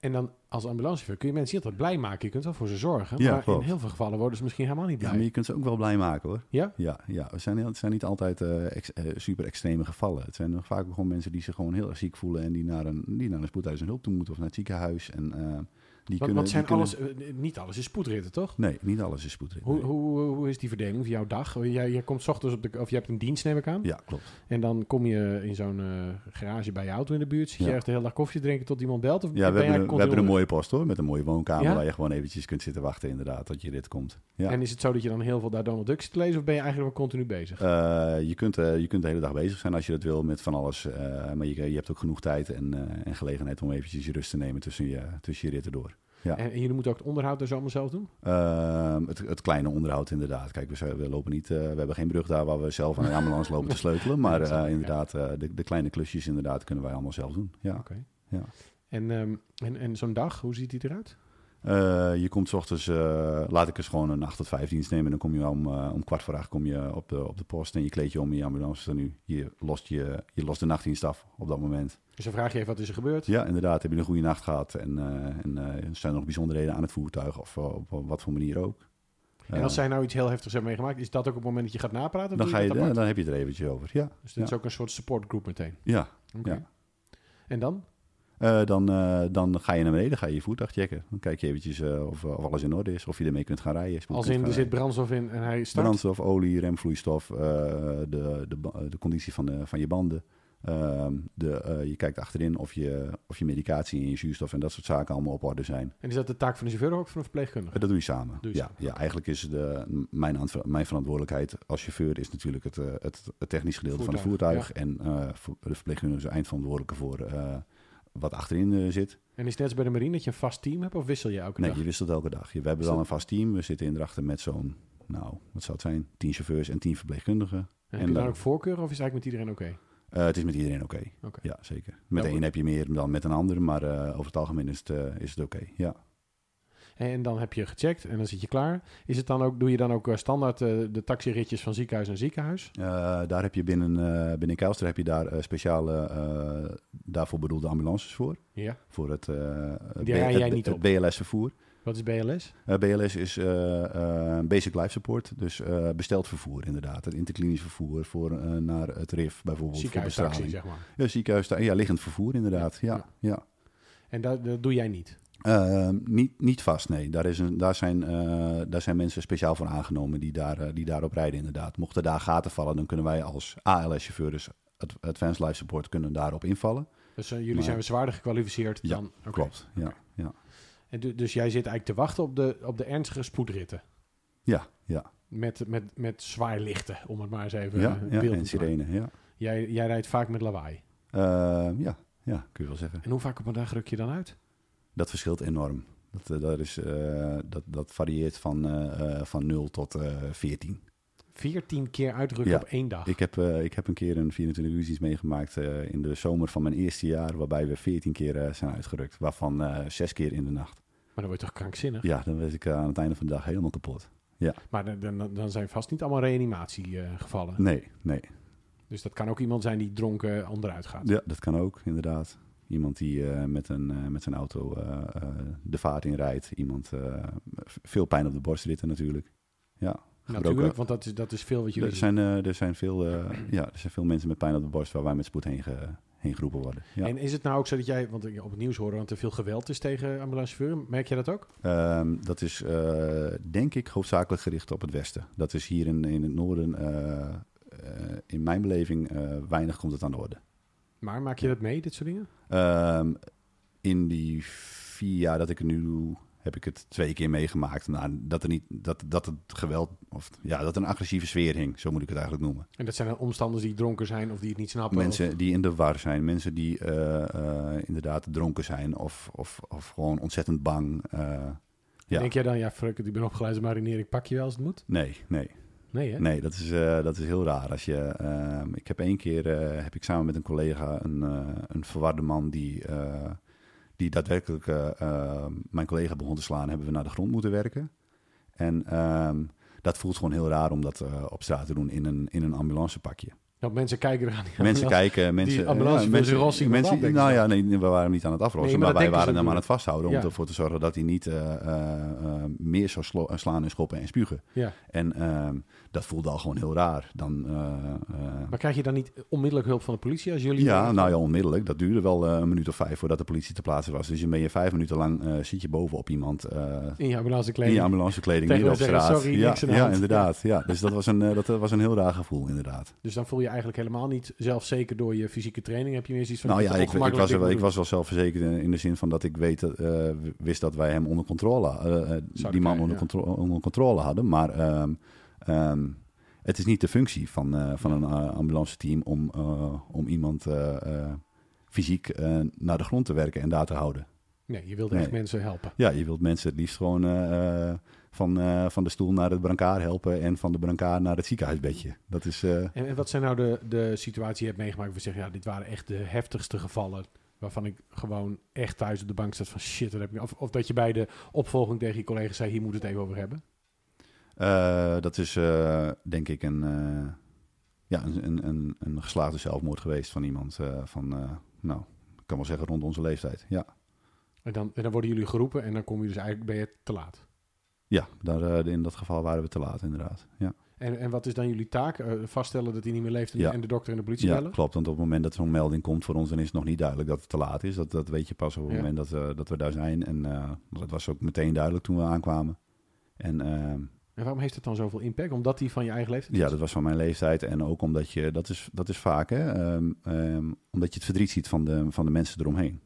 Speaker 1: En dan als ambulancechauffeur kun je mensen niet altijd blij maken. Je kunt wel voor ze zorgen.
Speaker 2: Ja,
Speaker 1: maar
Speaker 2: klopt.
Speaker 1: in heel veel gevallen worden ze misschien helemaal niet
Speaker 2: Ja,
Speaker 1: blij.
Speaker 2: maar je kunt ze ook wel blij maken hoor.
Speaker 1: Ja?
Speaker 2: Ja, ja. Het, zijn, heel- het zijn niet altijd eh, ex- eh, super extreme gevallen. Het zijn nog vaak gewoon mensen die zich gewoon heel erg ziek voelen en die naar een, die naar een spoedhuis en hulp toe moeten of naar het ziekenhuis. En, eh, die
Speaker 1: Want,
Speaker 2: kunnen,
Speaker 1: want zijn
Speaker 2: die kunnen-
Speaker 1: alles, eh, niet alles is spoedritten, toch?
Speaker 2: Nee, niet alles is spoedrit.
Speaker 1: Hoe,
Speaker 2: nee.
Speaker 1: hoe, hoe is die verdeling van jouw dag? Oh, Jij, jij komt 's ochtends op de... Of je hebt een dienst, neem ik aan.
Speaker 2: Ja, klopt.
Speaker 1: En dan kom je in zo'n eh, garage bij je auto in de buurt. Zit je
Speaker 2: Ja.
Speaker 1: echt de hele dag koffie te drinken tot iemand belt? Of
Speaker 2: Ja,
Speaker 1: ben
Speaker 2: we
Speaker 1: jij
Speaker 2: hebben, een, we
Speaker 1: continu
Speaker 2: hebben een
Speaker 1: onder-
Speaker 2: mooie post hoor, met een mooie woonkamer
Speaker 1: Ja?
Speaker 2: waar je gewoon eventjes kunt zitten wachten inderdaad tot je dit komt. Ja.
Speaker 1: En is het zo dat je dan heel veel daar Donald Duck zit te lezen? Of ben je eigenlijk wel continu bezig?
Speaker 2: Eh, je, kunt, eh, je kunt de hele dag bezig zijn als je dat wil met van alles. eh, maar je, je hebt ook genoeg tijd en, eh, en gelegenheid om eventjes je rust te nemen tussen je, tussen je ritten door. ja.
Speaker 1: En, en jullie moeten ook het onderhoud dus allemaal zelf doen?
Speaker 2: Ehm, het, het kleine onderhoud inderdaad. Kijk, we, zijn- we lopen niet, eh, we hebben geen brug daar waar we zelf aan de ambulance lopen te sleutelen. Maar
Speaker 1: dat snap
Speaker 2: eh,
Speaker 1: ik, ja.
Speaker 2: inderdaad, eh, de, de kleine klusjes inderdaad kunnen wij allemaal zelf doen. Ja.
Speaker 1: Oké.
Speaker 2: Ja.
Speaker 1: En, ehm, en, en zo'n dag, hoe ziet die eruit?
Speaker 2: Eh, je komt 's ochtends, eh, laat ik eens gewoon een 8 tot 5 dienst nemen. En dan kom je om, eh, om kwart voor acht kom je op, de, op de post en je kleed je om in je ambulance. En nu, je, lost je, je lost de nachtdienst af op dat moment.
Speaker 1: Dus dan vraag je even wat is er gebeurd.
Speaker 2: Ja, inderdaad. Heb je een goede nacht gehad? En, eh, en eh, zijn er nog bijzonderheden aan het voertuig? Of eh, op wat voor manier ook?
Speaker 1: en als
Speaker 2: Eh,
Speaker 1: zij nou iets heel heftigs hebben meegemaakt, is dat ook op het moment dat je gaat napraten? of
Speaker 2: dan,
Speaker 1: doe
Speaker 2: ga je,
Speaker 1: dat
Speaker 2: eh,
Speaker 1: apart?
Speaker 2: dan heb je het er eventjes over. Ja,
Speaker 1: Dus dit is ook een soort supportgroep meteen.
Speaker 2: ja.
Speaker 1: Oké.
Speaker 2: Ja.
Speaker 1: En dan?
Speaker 2: Eh, dan, eh, dan ga je naar beneden, ga je je voertuig checken. Dan kijk je eventjes eh, of, eh, of alles in orde is. Of je ermee kunt gaan rijden. spoed
Speaker 1: Als
Speaker 2: kunt
Speaker 1: in,
Speaker 2: gaan
Speaker 1: er zit
Speaker 2: rijden.
Speaker 1: brandstof in en hij start.
Speaker 2: Brandstof, olie, remvloeistof, eh, de, de, ba- de conditie van, de, van je banden. Ehm, de, eh, je kijkt achterin of je, of je medicatie en je zuurstof en dat soort zaken allemaal op orde zijn.
Speaker 1: En is dat de taak van de chauffeur of ook van een verpleegkundige?
Speaker 2: Eh, Dat doe je samen.
Speaker 1: Doe je
Speaker 2: ja,
Speaker 1: samen,
Speaker 2: ja, eigenlijk is de, m- mijn, aanver- mijn verantwoordelijkheid als chauffeur is natuurlijk het, eh, het, het technisch gedeelte van het
Speaker 1: Voertuig,
Speaker 2: voertuig. En eh, voor- de verpleegkundige is eindverantwoordelijke voor eh, wat achterin eh, zit.
Speaker 1: En is het net als bij de marine dat je een vast team hebt of wissel je elke
Speaker 2: Nee,
Speaker 1: dag?
Speaker 2: je wisselt elke dag. Je- We
Speaker 1: Is
Speaker 2: hebben wel
Speaker 1: dat-
Speaker 2: een vast team. We zitten in Drachten met zo'n, nou, wat zou het zijn? Tien chauffeurs en tien verpleegkundigen.
Speaker 1: En
Speaker 2: en
Speaker 1: heb je dan
Speaker 2: dan-
Speaker 1: ook voorkeuren of is het eigenlijk met iedereen oké?
Speaker 2: Eh, het is met iedereen oké.
Speaker 1: Oké.
Speaker 2: Ja, zeker. Met
Speaker 1: Ja,
Speaker 2: de een heb je meer dan met een ander, maar eh, over het algemeen is het, eh, is het oké. Ja.
Speaker 1: En dan heb je gecheckt en dan zit je klaar. Is het dan ook, doe je dan ook eh, standaard eh, de taxiritjes van ziekenhuis naar ziekenhuis?
Speaker 2: Eh, daar heb je binnen, eh binnen Kuilster heb je daar eh, speciale, eh, daarvoor bedoelde ambulances voor.
Speaker 1: Ja.
Speaker 2: voor het, eh, B-
Speaker 1: rij jij
Speaker 2: het-
Speaker 1: niet
Speaker 2: het
Speaker 1: op.
Speaker 2: BLS-vervoer.
Speaker 1: Wat is BLS?
Speaker 2: Eh, BLS is eh, eh, Basic Life Support, dus eh, besteld vervoer inderdaad. Het interklinisch vervoer voor, eh, naar het RIF bijvoorbeeld. voor
Speaker 1: Ziekenhuistaxi,
Speaker 2: bestraling.
Speaker 1: zeg maar.
Speaker 2: Ja, Eh, ziekenhuis, ja, liggend vervoer inderdaad. Ja,
Speaker 1: Ja.
Speaker 2: ja.
Speaker 1: En dat, dat doe jij niet.
Speaker 2: Eh, niet, niet vast, nee. Daar, is een, daar, zijn, eh, daar zijn mensen speciaal voor aangenomen die, daar, eh, die daarop rijden inderdaad. Mochten daar gaten vallen, dan kunnen wij als ALS-chauffeur, dus Ad- Advanced Life Support, kunnen daarop invallen.
Speaker 1: Dus eh, jullie
Speaker 2: Maar-
Speaker 1: zijn zwaarder gekwalificeerd
Speaker 2: Ja,
Speaker 1: dan... Oké.
Speaker 2: Klopt, ja.
Speaker 1: Oké.
Speaker 2: ja.
Speaker 1: En du- dus jij zit eigenlijk te wachten op de, op de ernstige spoedritten.
Speaker 2: Ja, ja,
Speaker 1: Met, met, met zwaarlichten, om het maar eens even
Speaker 2: ja,
Speaker 1: eh, beeld
Speaker 2: ja. en
Speaker 1: te maken.
Speaker 2: sirene, ja.
Speaker 1: Jij, jij rijdt vaak met lawaai.
Speaker 2: Eh, ja. ja, kun je wel zeggen.
Speaker 1: En hoe vaak op een dag ruk je dan uit?
Speaker 2: Dat verschilt enorm. Dat, eh, dat, is, eh, dat, dat varieert van, eh, eh, van 0 tot eh 14.
Speaker 1: 14 keer uitrukken
Speaker 2: Ja.
Speaker 1: op één dag.
Speaker 2: Ik heb, eh, ik heb een keer een 24 uur dienst meegemaakt eh, in de zomer van mijn eerste jaar, waarbij we 14 keer eh, zijn uitgerukt, waarvan eh 6 keer in de nacht.
Speaker 1: Maar dan word je toch krankzinnig?
Speaker 2: Ja, dan was ik eh, aan het einde van de dag helemaal kapot.
Speaker 1: Maar dan- dan, dan zijn vast niet allemaal reanimatiegevallen.
Speaker 2: Nee, nee.
Speaker 1: Dus dat kan ook iemand zijn die dronken onderuit gaat.
Speaker 2: Ja, dat kan ook, inderdaad. Iemand die eh, met, een, eh, met zijn auto eh, eh, de vaart in rijdt. Iemand eh, veel pijn op de borst zitten natuurlijk. Ja,
Speaker 1: Natuurlijk, want dat is, dat is veel wat jullie
Speaker 2: Er
Speaker 1: zien.
Speaker 2: zijn, eh, er, zijn veel, eh, ja, er zijn veel mensen met pijn op de borst waar wij met spoed heen, ge- heen geroepen worden. Ja.
Speaker 1: En is het nou ook zo dat jij, want ik op het nieuws horen dat er veel geweld is tegen ambulancechauffeur, merk jij dat ook?
Speaker 2: Ehm, dat is eh, denk ik hoofdzakelijk gericht op het westen. Dat is hier in, in het noorden, eh, eh, in mijn beleving, eh, weinig komt het aan de orde.
Speaker 1: Maar maak je dat mee, dit soort dingen?
Speaker 2: Ehm, in die vier jaar dat ik het nu doe, heb ik het twee keer meegemaakt. Nou, dat, er niet, dat, dat het geweld, of ja, dat er een agressieve sfeer hing, zo moet ik het eigenlijk noemen.
Speaker 1: En dat zijn dan omstanders die dronken zijn of die het niet snappen.
Speaker 2: mensen
Speaker 1: of-
Speaker 2: die in de war zijn, mensen die eh, eh, inderdaad dronken zijn of, of, of gewoon ontzettend bang. eh, ja.
Speaker 1: Denk jij dan, ja, fuck it, ik ben opgeleid als marinier, ik pak je wel als het moet?
Speaker 2: Nee, nee.
Speaker 1: Nee, hè?
Speaker 2: Nee, dat is, eh, dat is heel raar. Als je, ehm, ik heb één keer eh, heb ik samen met een collega een, eh, een verwarde man die, eh, die daadwerkelijk eh, eh, mijn collega begon te slaan, hebben we naar de grond moeten werken. En ehm, dat voelt gewoon heel raar om dat eh, op straat te doen in een, in een ambulancepakje.
Speaker 1: Want mensen kijken eraan.
Speaker 2: mensen kijken, mensen.
Speaker 1: ambulance voor
Speaker 2: mensen,
Speaker 1: zijn rossing
Speaker 2: mensen-
Speaker 1: op afdenken
Speaker 2: Nou ja,
Speaker 1: staat.
Speaker 2: nee, we waren hem niet aan het afrossen,
Speaker 1: Nee, maar dat
Speaker 2: maar, wij
Speaker 1: denken ze
Speaker 2: waren hem aan het
Speaker 1: natuurlijk.
Speaker 2: vasthouden om
Speaker 1: Ja.
Speaker 2: ervoor te zorgen dat hij niet eh, eh, eh, meer zou slo- slaan en schoppen en spugen.
Speaker 1: Ja.
Speaker 2: En ehm, dat voelde al gewoon heel raar. Dan, eh, eh,
Speaker 1: Maar krijg je dan niet onmiddellijk hulp van de politie als jullie...
Speaker 2: ja, nou ja, onmiddellijk. Dat duurde wel eh, een minuut of vijf voordat de politie te plaatsen was. Dus je ben je vijf minuten lang eh, zit je bovenop iemand eh,
Speaker 1: In je
Speaker 2: in
Speaker 1: ambulancekleding.
Speaker 2: je ambulancekleding
Speaker 1: Tegen
Speaker 2: midden op
Speaker 1: hem zeggen,
Speaker 2: straat.
Speaker 1: sorry,
Speaker 2: ja,
Speaker 1: niks aan de
Speaker 2: ja,
Speaker 1: hand.
Speaker 2: inderdaad. Ja. Dus dat was, een, eh, dat was een heel raar gevoel, inderdaad.
Speaker 1: Dus dan voel je eigenlijk helemaal niet zelfzeker door je fysieke training. Heb je meer zoiets van...
Speaker 2: Nou ja,
Speaker 1: ben
Speaker 2: ik, ik,
Speaker 1: ongemakkelijk,
Speaker 2: was, er wel,
Speaker 1: dit
Speaker 2: ik
Speaker 1: moet
Speaker 2: was wel zelfverzekerd in, in de zin van dat ik weet, dat, eh, wist dat wij hem onder controle, eh, eh, die man
Speaker 1: krijgen,
Speaker 2: onder,
Speaker 1: ja.
Speaker 2: contro- onder controle hadden. Maar ehm, ehm, het is niet de functie van, eh, van een eh, ambulance team om, eh, om iemand eh, eh, fysiek eh, naar de grond te werken en daar te houden.
Speaker 1: doen. Nee, je wilde echt
Speaker 2: Nee.
Speaker 1: mensen helpen.
Speaker 2: Ja, je wilt mensen het liefst gewoon eh, eh, van, eh, van de stoel naar het brancard helpen en van de brancard naar het ziekenhuisbedje. Dat is... eh,
Speaker 1: En, en wat zijn nou de, de situaties die je hebt meegemaakt... waar je zegt, ja, dit waren echt de heftigste gevallen... waarvan ik gewoon echt thuis op de bank zat van... shit, dat heb ik... Of, of dat je bij de opvolging tegen je collega's zei... hier moet het even over hebben.
Speaker 2: Eh, dat is eh, denk ik een, eh, ja, een, een, een, een geslaagde zelfmoord geweest van iemand eh, van, eh, nou, ik kan wel zeggen rond onze leeftijd. Ja,
Speaker 1: En dan, en dan worden jullie geroepen en dan kom je dus eigenlijk... ben je te laat.
Speaker 2: ja daar, eh, in dat geval waren we te laat inderdaad. Ja,
Speaker 1: En, en wat is dan jullie taak? Eh, vaststellen dat hij niet meer leeft en,
Speaker 2: Ja.
Speaker 1: en de dokter en de politie
Speaker 2: ja
Speaker 1: bellen?
Speaker 2: klopt, want op het moment dat zo'n melding komt voor ons, dan is het nog niet duidelijk dat het te laat is. Dat, dat weet je pas op het
Speaker 1: Ja.
Speaker 2: moment dat, eh, dat we daar zijn. En eh, dat was ook meteen duidelijk toen we aankwamen. En ehm,
Speaker 1: En waarom heeft het dan zoveel impact? Omdat hij van je eigen leeftijd
Speaker 2: Ja,
Speaker 1: is?
Speaker 2: dat was van mijn leeftijd. En ook omdat je, dat is, dat is vaak hè, ehm, ehm, omdat je het verdriet ziet van de, van de mensen eromheen.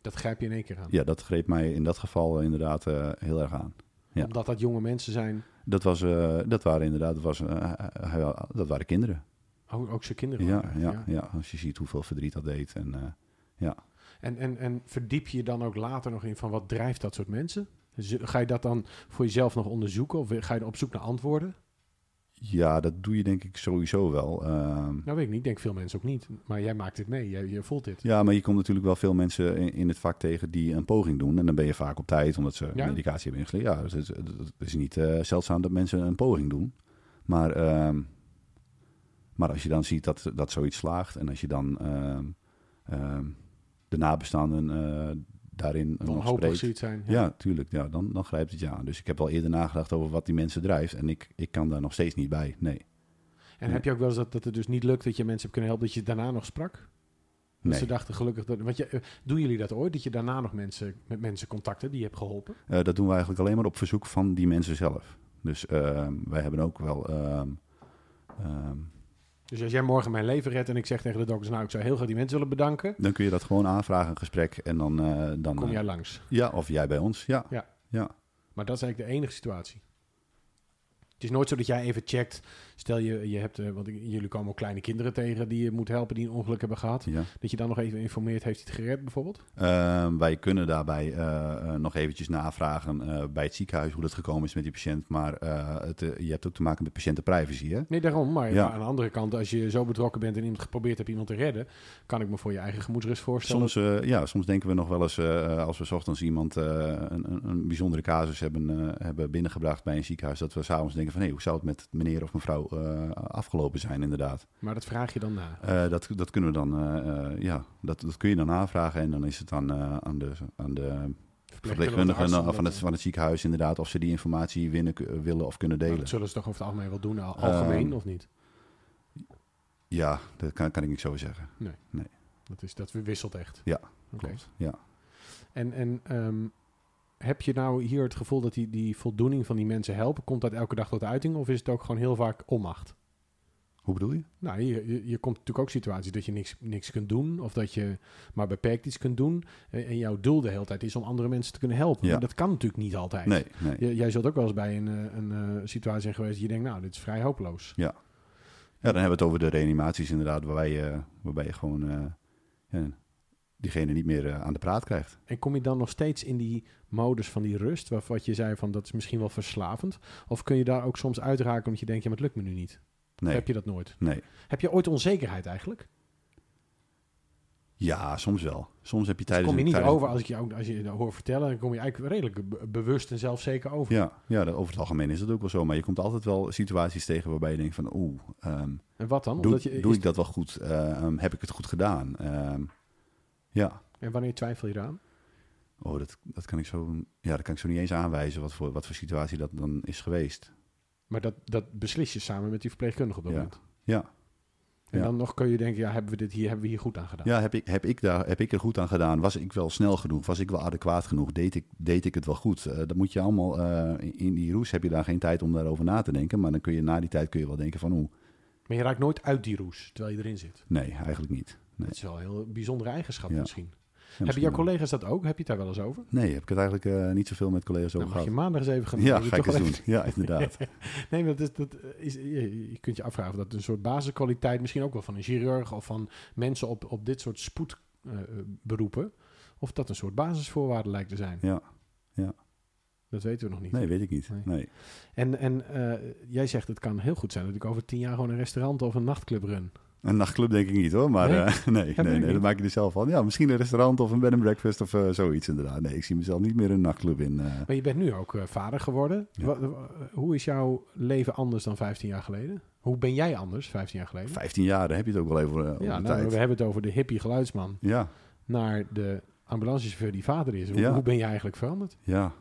Speaker 1: Dat grijp je in één keer aan.
Speaker 2: Ja, dat greep mij in dat geval eh, inderdaad eh, heel erg aan. ja.
Speaker 1: Omdat dat jonge mensen zijn.
Speaker 2: Dat, was, eh, dat waren inderdaad, dat, was, eh, hij- hij- dat waren kinderen.
Speaker 1: Ook, ook zijn
Speaker 2: Ja,
Speaker 1: kinderen.
Speaker 2: ja,
Speaker 1: waren,
Speaker 2: ja. als je ziet hoeveel verdriet dat deed. En, eh,
Speaker 1: En, en, en verdiep je je dan ook later nog in van wat drijft dat soort mensen? Z- Ga je dat dan voor jezelf nog onderzoeken? Of ga je op zoek naar antwoorden?
Speaker 2: ja, dat doe je denk ik sowieso wel. Ehm,
Speaker 1: Nou weet ik niet. Ik denk veel mensen ook niet. Maar jij maakt dit mee. Jij, je voelt dit.
Speaker 2: ja, maar je komt natuurlijk wel veel mensen in, in het vak tegen die een poging doen. En dan ben je vaak op tijd, omdat ze
Speaker 1: Ja?
Speaker 2: medicatie hebben ingeslikt. Ja, dus het, is- het is niet eh, zeldzaam dat mensen een poging doen. Maar, ehm, maar als je dan ziet dat, dat zoiets slaagt... en als je dan ehm, ehm, de nabestaanden eh, daarin nog
Speaker 1: Wanhopig
Speaker 2: spreekt...
Speaker 1: zoiets zijn.
Speaker 2: Ja, tuurlijk. Ja, dan, dan grijpt het je aan. Dus ik heb al eerder nagedacht over wat die mensen drijft. En ik, ik kan daar nog steeds niet bij. Nee.
Speaker 1: En heb je ook wel eens dat, dat het dus niet lukt dat je mensen hebt kunnen helpen, dat je daarna nog sprak? Dat
Speaker 2: nee.
Speaker 1: ze dachten gelukkig dat. Want je, eh, doen jullie dat ooit? Dat je daarna nog mensen met mensen contacten die je hebt geholpen?
Speaker 2: Eh, dat doen we eigenlijk alleen maar op verzoek van die mensen zelf. Dus ehm, wij hebben ook wel. ehm, ehm,
Speaker 1: Dus als jij morgen mijn leven redt en ik zeg tegen de dokters, nou ik zou heel graag die mensen willen bedanken,
Speaker 2: dan kun je dat gewoon aanvragen, een gesprek. En dan. eh, dan
Speaker 1: kom
Speaker 2: eh,
Speaker 1: jij langs.
Speaker 2: ja, of jij bij ons. Ja.
Speaker 1: Ja. Maar dat is eigenlijk de enige situatie. Het is nooit zo dat jij even checkt. Stel je, je hebt, eh, want ik- jullie komen ook kleine kinderen tegen die je moet helpen die een ongeluk hebben gehad.
Speaker 2: ja.
Speaker 1: Dat je dan nog even informeert, heeft hij het gered bijvoorbeeld?
Speaker 2: Ehm, wij kunnen daarbij eh, eh, nog eventjes navragen eh, bij het ziekenhuis hoe dat gekomen is met die patiënt. Maar eh, het, eh, je hebt ook te maken met patiëntenprivacy. Hè?
Speaker 1: Nee, daarom. Maar
Speaker 2: Ja.
Speaker 1: maar aan de andere kant, als je zo betrokken bent en iemand geprobeerd hebt iemand te redden, kan ik me voor je eigen gemoedsrust voorstellen.
Speaker 2: Soms, eh, ja, soms denken we nog wel eens, eh, als we 's ochtends iemand eh, een, een- een bijzondere casus hebben, eh, hebben binnengebracht bij een ziekenhuis, dat we s'avonds denken van hé, hoe zou het met meneer of mevrouw eh, afgelopen zijn inderdaad.
Speaker 1: Maar dat vraag je dan na.
Speaker 2: Eh, dat, dat kunnen we dan, eh, eh, ja, dat, dat kun je dan aanvragen en dan is het aan, eh, aan de, aan de verpleegkundige eh,
Speaker 1: arts,
Speaker 2: van
Speaker 1: omdat-
Speaker 2: het, van het ziekenhuis inderdaad of ze die informatie winnen, k- willen of kunnen
Speaker 1: Maar
Speaker 2: delen.
Speaker 1: Nou, Dat zullen ze toch over het algemeen wel doen, al- algemeen
Speaker 2: Ehm,
Speaker 1: of niet?
Speaker 2: Ja, dat kan, kan ik niet zo zeggen.
Speaker 1: Dat, is, dat wisselt echt.
Speaker 2: Ja,
Speaker 1: Oké.
Speaker 2: klopt. Ja.
Speaker 1: En, en ehm, heb je nou hier het gevoel dat die, die voldoening van die mensen helpen, komt dat elke dag tot uiting of is het ook gewoon heel vaak onmacht?
Speaker 2: Hoe bedoel je?
Speaker 1: Nou, je, je, je komt natuurlijk ook situaties dat je niks, niks kunt doen of dat je maar beperkt iets kunt doen. En, en jouw doel de hele tijd is om andere mensen te kunnen helpen.
Speaker 2: Ja.
Speaker 1: Maar dat kan natuurlijk niet altijd.
Speaker 2: Nee, nee.
Speaker 1: J- jij zult ook wel eens bij een, eh, een eh, situatie zijn geweest dat je denkt, nou, dit is vrij hopeloos.
Speaker 2: Ja, dan hebben we het over de reanimaties inderdaad, waarbij je, waarbij je gewoon eh, ja, diegene niet meer eh, aan de praat krijgt.
Speaker 1: En kom je dan nog steeds in die modus van die rust, waarvan wat je zei van dat is misschien wel verslavend? Of kun je daar ook soms uitraken omdat je denkt, ja, maar het lukt me nu niet?
Speaker 2: Nee,
Speaker 1: Heb je dat nooit?
Speaker 2: nee.
Speaker 1: Heb je ooit onzekerheid eigenlijk? Dus
Speaker 2: Ja, soms wel. Soms heb je tijdens...
Speaker 1: Dus kom je
Speaker 2: een-
Speaker 1: niet
Speaker 2: tijdens-
Speaker 1: over als ik je, ook, als je dat hoor vertellen, dan kom je eigenlijk redelijk be- bewust en zelfzeker over.
Speaker 2: Ja, ja dat- over het algemeen is dat ook wel zo. Maar je komt altijd wel situaties tegen waarbij je denkt van... Oeh, ehm,
Speaker 1: En wat dan?
Speaker 2: doe,
Speaker 1: Omdat je,
Speaker 2: doe
Speaker 1: is-
Speaker 2: ik dat wel goed? Eh, ehm, heb ik het goed gedaan? Ehm, ja,
Speaker 1: En wanneer twijfel je eraan?
Speaker 2: oh, dat, dat, kan ik zo, ja, dat kan ik zo niet eens aanwijzen wat voor, wat voor situatie dat dan is geweest.
Speaker 1: Maar dat, dat beslis je samen met die verpleegkundige op dat
Speaker 2: Ja.
Speaker 1: moment.
Speaker 2: Ja.
Speaker 1: En
Speaker 2: Ja.
Speaker 1: dan nog kun je denken, ja, hebben we dit hier, hebben we hier goed aan gedaan?
Speaker 2: Ja, heb ik, heb, ik daar, heb ik er goed aan gedaan? Was ik wel snel genoeg? Was ik wel adequaat genoeg? Deed ik, deed ik het wel goed? Eh dat moet je allemaal... eh, in, in die roes heb je daar geen tijd om daarover na te denken. Maar dan kun je na die tijd kun je wel denken van... Oeh,
Speaker 1: Maar je raakt nooit uit die roes terwijl je erin zit.
Speaker 2: nee, eigenlijk niet. Nee,
Speaker 1: Dat is wel een heel bijzondere eigenschap
Speaker 2: Ja.
Speaker 1: misschien.
Speaker 2: Ja,
Speaker 1: Hebben
Speaker 2: misschien
Speaker 1: jouw
Speaker 2: wel.
Speaker 1: collega's dat ook? Heb je het daar wel eens over?
Speaker 2: Nee, heb ik het eigenlijk eh, niet zoveel met collega's
Speaker 1: Dan
Speaker 2: over
Speaker 1: mag je
Speaker 2: gehad.
Speaker 1: maandag eens even gaan
Speaker 2: Ja,
Speaker 1: je
Speaker 2: ga ik
Speaker 1: toch
Speaker 2: eens
Speaker 1: wel
Speaker 2: doen. Ja, inderdaad.
Speaker 1: even- Nee, maar dat is, dat is, je, je kunt je afvragen of dat een soort basiskwaliteit misschien ook wel van een chirurg of van mensen op, op dit soort spoedberoepen, of dat een soort basisvoorwaarde lijkt te zijn.
Speaker 2: Ja, ja.
Speaker 1: Dat weten we nog niet.
Speaker 2: Nee, weet ik niet.
Speaker 1: Nee.
Speaker 2: Nee.
Speaker 1: En, en eh, jij zegt het kan heel goed zijn dat ik over tien jaar gewoon een restaurant of een nachtclub run.
Speaker 2: Een nachtclub denk ik niet hoor, maar
Speaker 1: Nee?
Speaker 2: eh, nee,
Speaker 1: Ja, weet
Speaker 2: nee, nee,
Speaker 1: ik niet.
Speaker 2: dat maak je er zelf van. Ja, misschien een restaurant of een bed and breakfast of eh, zoiets inderdaad. Nee, ik zie mezelf niet meer een nachtclub in. eh.
Speaker 1: Maar je bent nu ook eh, vader geworden.
Speaker 2: Ja.
Speaker 1: Wa- wa- hoe is jouw leven anders dan 15 jaar geleden? Hoe ben jij anders 15 jaar geleden?
Speaker 2: 15 jaar, daar heb je het ook wel even eh, op
Speaker 1: ja,
Speaker 2: de
Speaker 1: nou,
Speaker 2: tijd.
Speaker 1: we hebben het over de hippie geluidsman.
Speaker 2: Ja,
Speaker 1: naar de ambulancechauffeur die vader is. Hoe,
Speaker 2: Ja.
Speaker 1: hoe ben je eigenlijk veranderd?
Speaker 2: ja.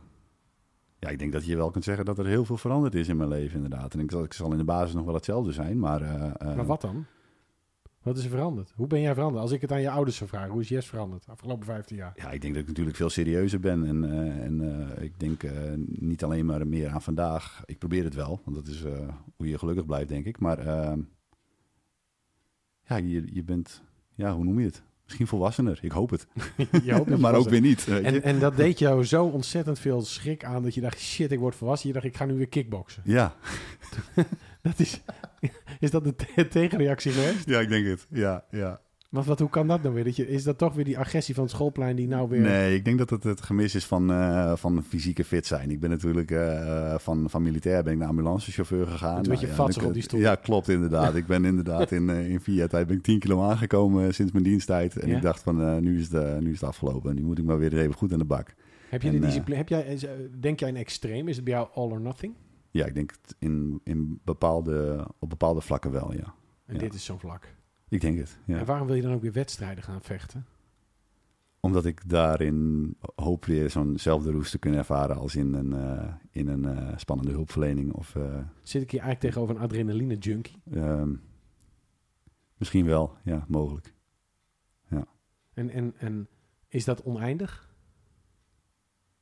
Speaker 2: Ja, ik denk dat je wel kunt zeggen dat er heel veel veranderd is in mijn leven inderdaad. En ik, ik zal in de basis nog wel hetzelfde zijn, maar... eh, eh,
Speaker 1: maar wat dan? Wat is er veranderd? Hoe ben jij veranderd? Als ik het aan je ouders zou vragen, hoe is Jess veranderd afgelopen 15 jaar?
Speaker 2: Ja, ik denk dat ik natuurlijk veel serieuzer ben. En, eh, en eh, ik denk eh, niet alleen maar meer aan vandaag. Ik probeer het wel, want dat is eh, hoe je gelukkig blijft, denk ik. Maar ehm, ja, je, je bent, ja, hoe noem je het? Misschien volwassener, ik hoop het.
Speaker 1: Je hoopt dat je
Speaker 2: maar ook
Speaker 1: was-
Speaker 2: weer niet. weet je.
Speaker 1: En, en dat deed jou zo ontzettend veel schrik aan dat je dacht, shit, ik word volwassen. Je dacht, ik ga nu weer kickboksen.
Speaker 2: Ja,
Speaker 1: Dat is, is dat de te- tegenreactie geweest?
Speaker 2: ja, ik denk het. Ja, ja.
Speaker 1: Want wat, hoe kan dat nou weer? Dat je, is dat toch weer die agressie van het schoolplein die nou weer...
Speaker 2: Nee, ik denk dat het het gemis is van, eh, van fysieke fit zijn. Ik ben natuurlijk eh, van, van militair ben ik naar ambulancechauffeur gegaan. Nou
Speaker 1: Met een beetje
Speaker 2: ja,
Speaker 1: vatsig
Speaker 2: dan-
Speaker 1: op die stoel.
Speaker 2: Ja, klopt inderdaad. Ik ben inderdaad in, eh, in vier jaar tijd ben ik 10 kilo aangekomen eh, sinds mijn diensttijd. En
Speaker 1: Ja.
Speaker 2: ik dacht van eh, nu, is het, eh, nu is het afgelopen. Nu moet ik maar weer even goed aan de bak.
Speaker 1: Heb je
Speaker 2: En,
Speaker 1: de
Speaker 2: eh,
Speaker 1: discipline? Heb jij, is- eh, denk jij een extreem? Is het bij jou all or nothing?
Speaker 2: Ja, ik denk het in, in bepaalde, op bepaalde vlakken wel, ja.
Speaker 1: En
Speaker 2: Ja.
Speaker 1: dit is zo'n vlak.
Speaker 2: Ik denk het, ja.
Speaker 1: En waarom wil je dan ook weer wedstrijden gaan vechten?
Speaker 2: Omdat ik daarin hoop weer zo'nzelfde roes te kunnen ervaren als in een, eh, in een eh, spannende hulpverlening of... eh,
Speaker 1: Zit ik hier eigenlijk tegenover een adrenaline junkie?
Speaker 2: Ehm, misschien wel, ja, mogelijk.
Speaker 1: En, en, en is dat oneindig?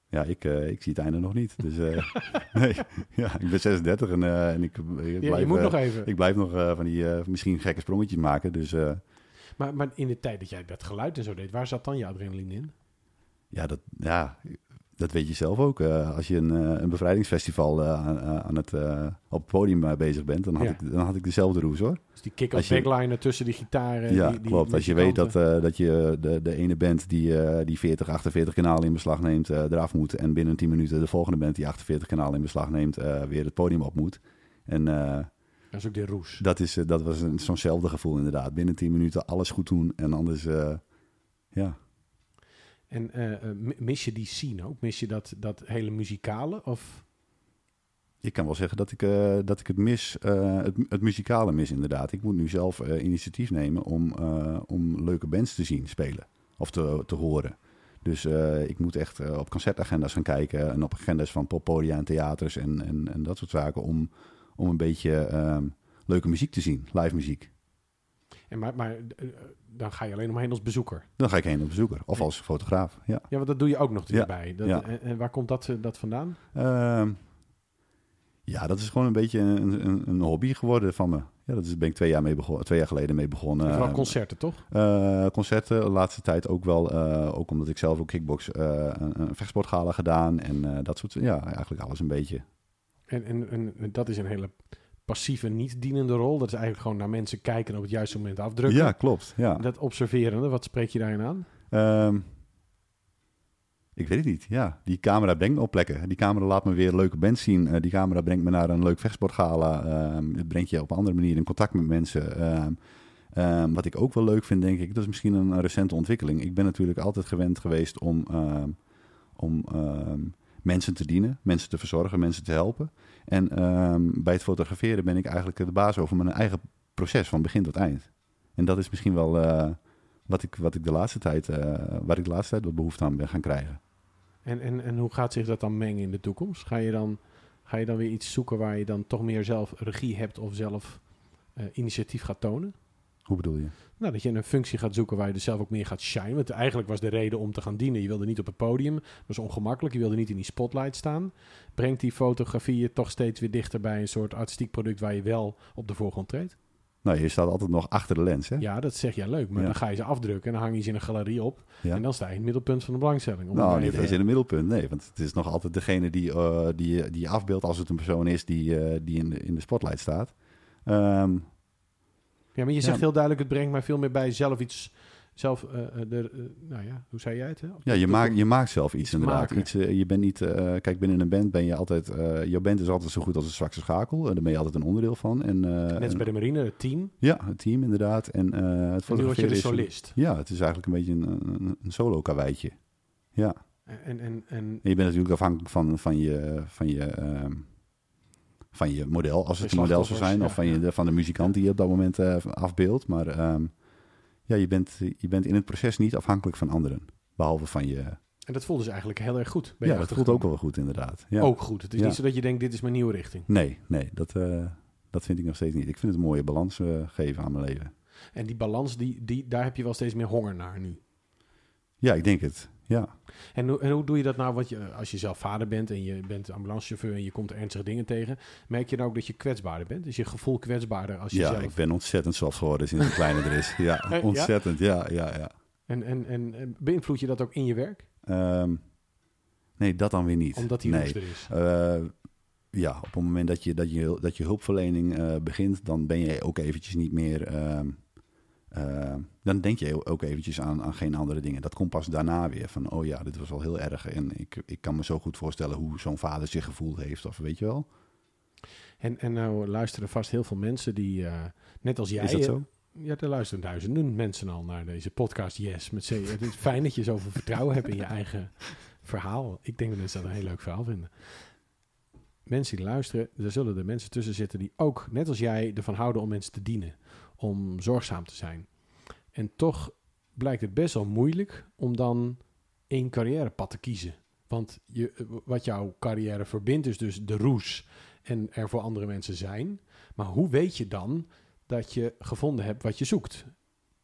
Speaker 2: Ja, ik, eh, ik zie het einde nog niet. Dus eh, nee, ja, ik ben 36 en, eh, en ik, ik blijf,
Speaker 1: Ja, je moet
Speaker 2: eh,
Speaker 1: nog even.
Speaker 2: ik blijf nog eh, van die eh, misschien gekke sprongetjes maken. Dus eh,
Speaker 1: Maar, maar in de tijd dat jij dat geluid en zo deed, waar zat dan je adrenaline in?
Speaker 2: ja, dat, ja, dat weet je zelf ook. Eh, als je een, eh, een bevrijdingsfestival eh, aan, aan het, eh, op het podium eh, bezig bent, dan had,
Speaker 1: Ja.
Speaker 2: ik, dan had ik dezelfde roes hoor.
Speaker 1: Dus die kick
Speaker 2: Als
Speaker 1: up
Speaker 2: je-
Speaker 1: backliner tussen die gitaren.
Speaker 2: ja,
Speaker 1: Eh, die, die
Speaker 2: klopt. Als je weet dat,
Speaker 1: muzikanten.
Speaker 2: eh, dat je de, de ene band die, eh, die 40, 48 kanalen in beslag neemt, eh, eraf moet. En binnen 10 minuten de volgende band die 48 kanalen in beslag neemt, eh, weer het podium op moet. En eh,
Speaker 1: Dat is ook de roes.
Speaker 2: dat, is, eh, dat was een- zo'nzelfde gevoel inderdaad. Binnen 10 minuten alles goed doen en anders... eh, ja.
Speaker 1: En eh, eh, mi- mis je die scene ook? Mis je dat, dat hele muzikale? Of
Speaker 2: Ik kan wel zeggen dat ik, eh, dat ik het mis, eh, het, het muzikale mis inderdaad. Ik moet nu zelf eh, initiatief nemen om, eh, om leuke bands te zien spelen of te, te horen. Dus eh, ik moet echt eh, op concertagenda's gaan kijken en op agenda's van poppodia en theaters en, en, en dat soort zaken om, om een beetje ehm, leuke muziek te zien, live muziek.
Speaker 1: En maar maar eh, dan ga je alleen omheen als bezoeker.
Speaker 2: Dan ga ik heen als bezoeker of als fotograaf. Ja.
Speaker 1: Ja, want dat doe je ook nog
Speaker 2: Ja,
Speaker 1: erbij. Dat,
Speaker 2: ja.
Speaker 1: en, en waar komt dat, eh, dat vandaan?
Speaker 2: Ehm, ja, dat is gewoon een beetje een, een, een hobby geworden van me. Ja, dat is, ben ik twee jaar, mee begon, twee jaar geleden mee begonnen.
Speaker 1: Vooral
Speaker 2: Eh,
Speaker 1: concerten, toch?
Speaker 2: eh, concerten de laatste tijd ook wel. eh, ook omdat ik zelf ook kickbox eh een, een vechtsportgala gedaan. En eh, dat soort Ja, eigenlijk alles een beetje.
Speaker 1: En, en, en, en dat is een hele passieve, niet dienende rol. Dat is eigenlijk gewoon naar mensen kijken en op het juiste moment afdrukken.
Speaker 2: Ja, klopt. Ja.
Speaker 1: Dat observerende, wat spreek je daarin aan?
Speaker 2: Ehm, ik weet het niet. Ja, die camera brengt me op plekken. Die camera laat me weer leuke bands zien. Eh, die camera brengt me naar een leuk vechtsportgala. Ehm, het brengt je op een andere manier in contact met mensen. Ehm, ehm, wat ik ook wel leuk vind, denk ik, dat is misschien een, een recente ontwikkeling. Ik ben natuurlijk altijd gewend geweest om, ehm, om ehm, mensen te dienen, mensen te verzorgen, mensen te helpen. En ehm, bij het fotograferen ben ik eigenlijk de baas over mijn eigen proces van begin tot eind. En dat is misschien wel. eh, wat ik, wat ik de laatste tijd, eh, waar ik de laatste tijd wat behoefte aan ben gaan krijgen.
Speaker 1: En, en, en hoe gaat zich dat dan mengen in de toekomst? Ga je, dan, ga je dan weer iets zoeken waar je dan toch meer zelf regie hebt of zelf eh, initiatief gaat tonen?
Speaker 2: Hoe bedoel je?
Speaker 1: Nou, dat je een functie gaat zoeken waar je dus zelf ook meer gaat shine. Want eigenlijk was de reden om te gaan dienen. Je wilde niet op het podium. Dat was ongemakkelijk. Je wilde niet in die spotlight staan. Brengt die fotografie je toch steeds weer dichter bij een soort artistiek product waar je wel op de voorgrond treedt?
Speaker 2: Nou, je staat altijd nog achter de lens, hè?
Speaker 1: Ja, dat zeg jij leuk. Maar
Speaker 2: Ja.
Speaker 1: dan ga je ze afdrukken en dan hang je ze in een galerie op.
Speaker 2: Ja.
Speaker 1: En dan sta je in het middelpunt van de belangstelling. Om het
Speaker 2: nou,
Speaker 1: maar
Speaker 2: niet
Speaker 1: even-
Speaker 2: eens in het middelpunt, nee. Want het is nog altijd degene die, eh, die, je- die je afbeeldt als het een persoon is die, eh, die in, de, in de spotlight staat. Ehm,
Speaker 1: Ja, maar je zegt
Speaker 2: Ja.
Speaker 1: heel duidelijk, het brengt mij veel meer bij zelf iets... Zelf, eh, eh, de, eh, nou ja, hoe zei jij het? Hè?
Speaker 2: ja, eh, je maakt, je maakt zelf iets,
Speaker 1: Iets
Speaker 2: inderdaad.
Speaker 1: maken.
Speaker 2: Iets, eh, je bent niet, eh, kijk, binnen een band ben je altijd, eh, jouw band is altijd zo goed als een zwakste schakel. En daar ben je altijd een onderdeel van. En, eh,
Speaker 1: Net als
Speaker 2: en-
Speaker 1: bij de marine, het team.
Speaker 2: Ja, het team inderdaad. En, eh, het
Speaker 1: En nu word je dus
Speaker 2: fotograferen
Speaker 1: de
Speaker 2: is een-
Speaker 1: solist.
Speaker 2: Ja, het is eigenlijk een beetje een, een, een solo karweitje. Ja.
Speaker 1: En, en, en
Speaker 2: En je bent natuurlijk afhankelijk van, van, je, van, je, ehm, van je model, als
Speaker 1: Van
Speaker 2: het
Speaker 1: je
Speaker 2: een model zou
Speaker 1: slachtoffers,
Speaker 2: zijn,
Speaker 1: ja,
Speaker 2: of van, je,
Speaker 1: ja.
Speaker 2: de, van de muzikant die je op dat moment eh, afbeeldt. Maar ehm, ja, je, bent, je bent in het proces niet afhankelijk van anderen, behalve van je.
Speaker 1: En dat voelt dus eigenlijk heel erg goed. Ben je
Speaker 2: ja, dat voelt
Speaker 1: achtergekomen. Oh.
Speaker 2: ook wel goed, inderdaad. Ja.
Speaker 1: Ook goed. Het is
Speaker 2: Ja.
Speaker 1: niet zo dat je denkt, dit is mijn nieuwe richting.
Speaker 2: Nee, nee, dat, eh, dat vind ik nog steeds niet. Ik vind het een mooie balans eh, geven aan mijn leven.
Speaker 1: En die balans, die, die, daar heb je wel steeds meer honger naar nu.
Speaker 2: Ja, ik denk het. Ja.
Speaker 1: En, hoe- en hoe doe je dat nou want je, als je zelf vader bent en je bent ambulancechauffeur en je komt ernstige dingen tegen? Merk je nou ook dat je kwetsbaarder bent? Is je gevoel kwetsbaarder als je
Speaker 2: Ja,
Speaker 1: zelf...
Speaker 2: ik ben ontzettend soft geworden sinds ik kleiner er is. Ja,
Speaker 1: Ja?
Speaker 2: ontzettend. Ja, ja, ja.
Speaker 1: En, en, en, en beïnvloed je dat ook in je werk?
Speaker 2: Ehm, nee, dat dan weer niet.
Speaker 1: Omdat die
Speaker 2: nee.
Speaker 1: roes er is.
Speaker 2: Eh, ja, op het moment dat je, dat je, dat je hulpverlening eh, begint, dan ben je ook eventjes niet meer. ehm, ehm, dan denk je ook eventjes aan, aan geen andere dingen. Dat komt pas daarna weer van, oh ja, dit was wel heel erg. En ik, ik kan me zo goed voorstellen hoe zo'n vader zich gevoeld heeft, of weet je wel.
Speaker 1: En, en nou luisteren vast heel veel mensen die, eh, net als jij...
Speaker 2: Is dat
Speaker 1: eh,
Speaker 2: zo?
Speaker 1: Ja, er luisteren duizenden mensen al naar deze podcast Yes met C. Het is fijn dat je zoveel vertrouwen hebt in je eigen verhaal. Ik denk dat mensen dat een heel leuk verhaal vinden. Mensen die luisteren, er zullen er mensen tussen zitten die ook, net als jij, ervan houden om mensen te dienen. Om zorgzaam te zijn. En toch blijkt het best wel moeilijk om dan één carrièrepad te kiezen. Want je, wat jouw carrière verbindt is dus de roes en er voor andere mensen zijn. Maar hoe weet je dan dat je gevonden hebt wat je zoekt.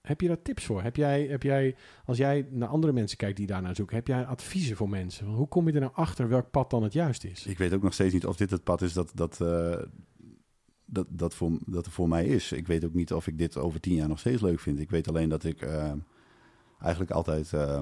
Speaker 1: Heb je daar tips voor? Heb jij, heb jij, als jij naar andere mensen kijkt die daarnaar zoeken, heb jij adviezen voor mensen? Van Hoe kom je er nou achter welk pad dan het juist is?
Speaker 2: Ik weet ook nog steeds niet of dit het pad is dat, dat, eh, dat, dat, voor, dat er voor mij is. Ik weet ook niet of ik dit over tien jaar nog steeds leuk vind. Ik weet alleen dat ik eh, eigenlijk altijd eh,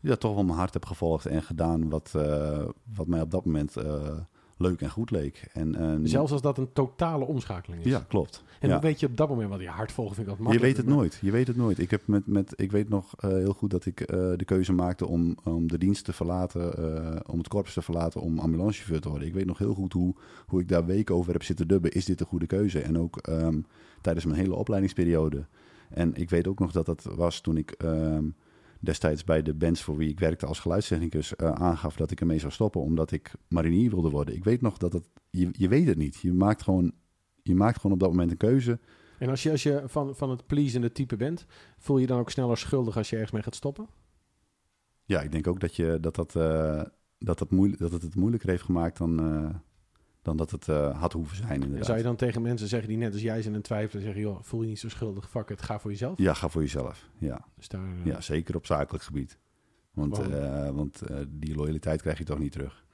Speaker 2: ja, toch wel mijn hart heb gevolgd en gedaan wat, eh, wat mij op dat moment eh, leuk en goed leek. En, eh,
Speaker 1: Zelfs als dat een totale omschakeling is.
Speaker 2: Ja, klopt.
Speaker 1: en
Speaker 2: ja.
Speaker 1: hoe weet je op dat moment wat je hart volgen vindt? Dat
Speaker 2: Je weet
Speaker 1: makkelijker.
Speaker 2: het nooit. Je weet het nooit. Ik, heb met, met, ik weet nog eh, heel goed dat ik eh, de keuze maakte om, om de dienst te verlaten, eh, om het korps te verlaten, om ambulancechauffeur te worden. Ik weet nog heel goed hoe, hoe ik daar weken over heb zitten dubben. Is dit de goede keuze? En ook ehm, tijdens mijn hele opleidingsperiode. En ik weet ook nog dat dat was toen ik ehm, destijds bij de bands voor wie ik werkte als geluidstechnicus eh, aangaf dat ik ermee zou stoppen omdat ik marinier wilde worden. Ik weet nog dat dat, je, je weet het niet. Je maakt, gewoon, je maakt gewoon op dat moment een keuze.
Speaker 1: En als je, als je van, van het pleasende type bent, voel je dan ook sneller schuldig als je ergens mee gaat stoppen?
Speaker 2: Ja, ik denk ook dat je, dat, dat, eh, dat, dat, moeilijk, dat het het moeilijker heeft gemaakt dan, eh, dan dat het eh, had hoeven zijn inderdaad.
Speaker 1: Zou je dan tegen mensen zeggen die net als jij zijn en twijfelen... zeggen, joh, voel je niet zo schuldig, fuck het, ga voor jezelf?
Speaker 2: Ja, ga voor jezelf. Ja,
Speaker 1: Dus daar, eh,
Speaker 2: ja zeker op zakelijk gebied. Want,
Speaker 1: Waarom?
Speaker 2: eh, want eh, die loyaliteit krijg je toch niet terug.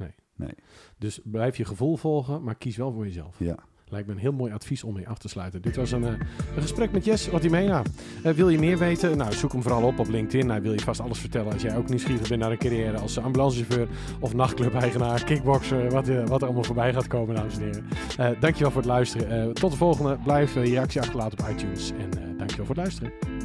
Speaker 1: Dus blijf je gevoel volgen, maar kies wel voor jezelf.
Speaker 2: Ja.
Speaker 1: Lijkt me een heel mooi advies om mee af te sluiten. Dit was een, eh, een gesprek met Jess Otimena. Eh wil je meer weten? Nou, zoek hem vooral op op LinkedIn. Hij wil je vast alles vertellen als jij ook nieuwsgierig bent naar een carrière als ambulancechauffeur of nachtclub-eigenaar, kickboxer, wat, eh, wat er allemaal voorbij gaat komen, dames en heren. Eh dankjewel voor het luisteren. Eh, tot de volgende. Blijf eh, je reactie achterlaten op iTunes. En eh dankjewel voor het luisteren.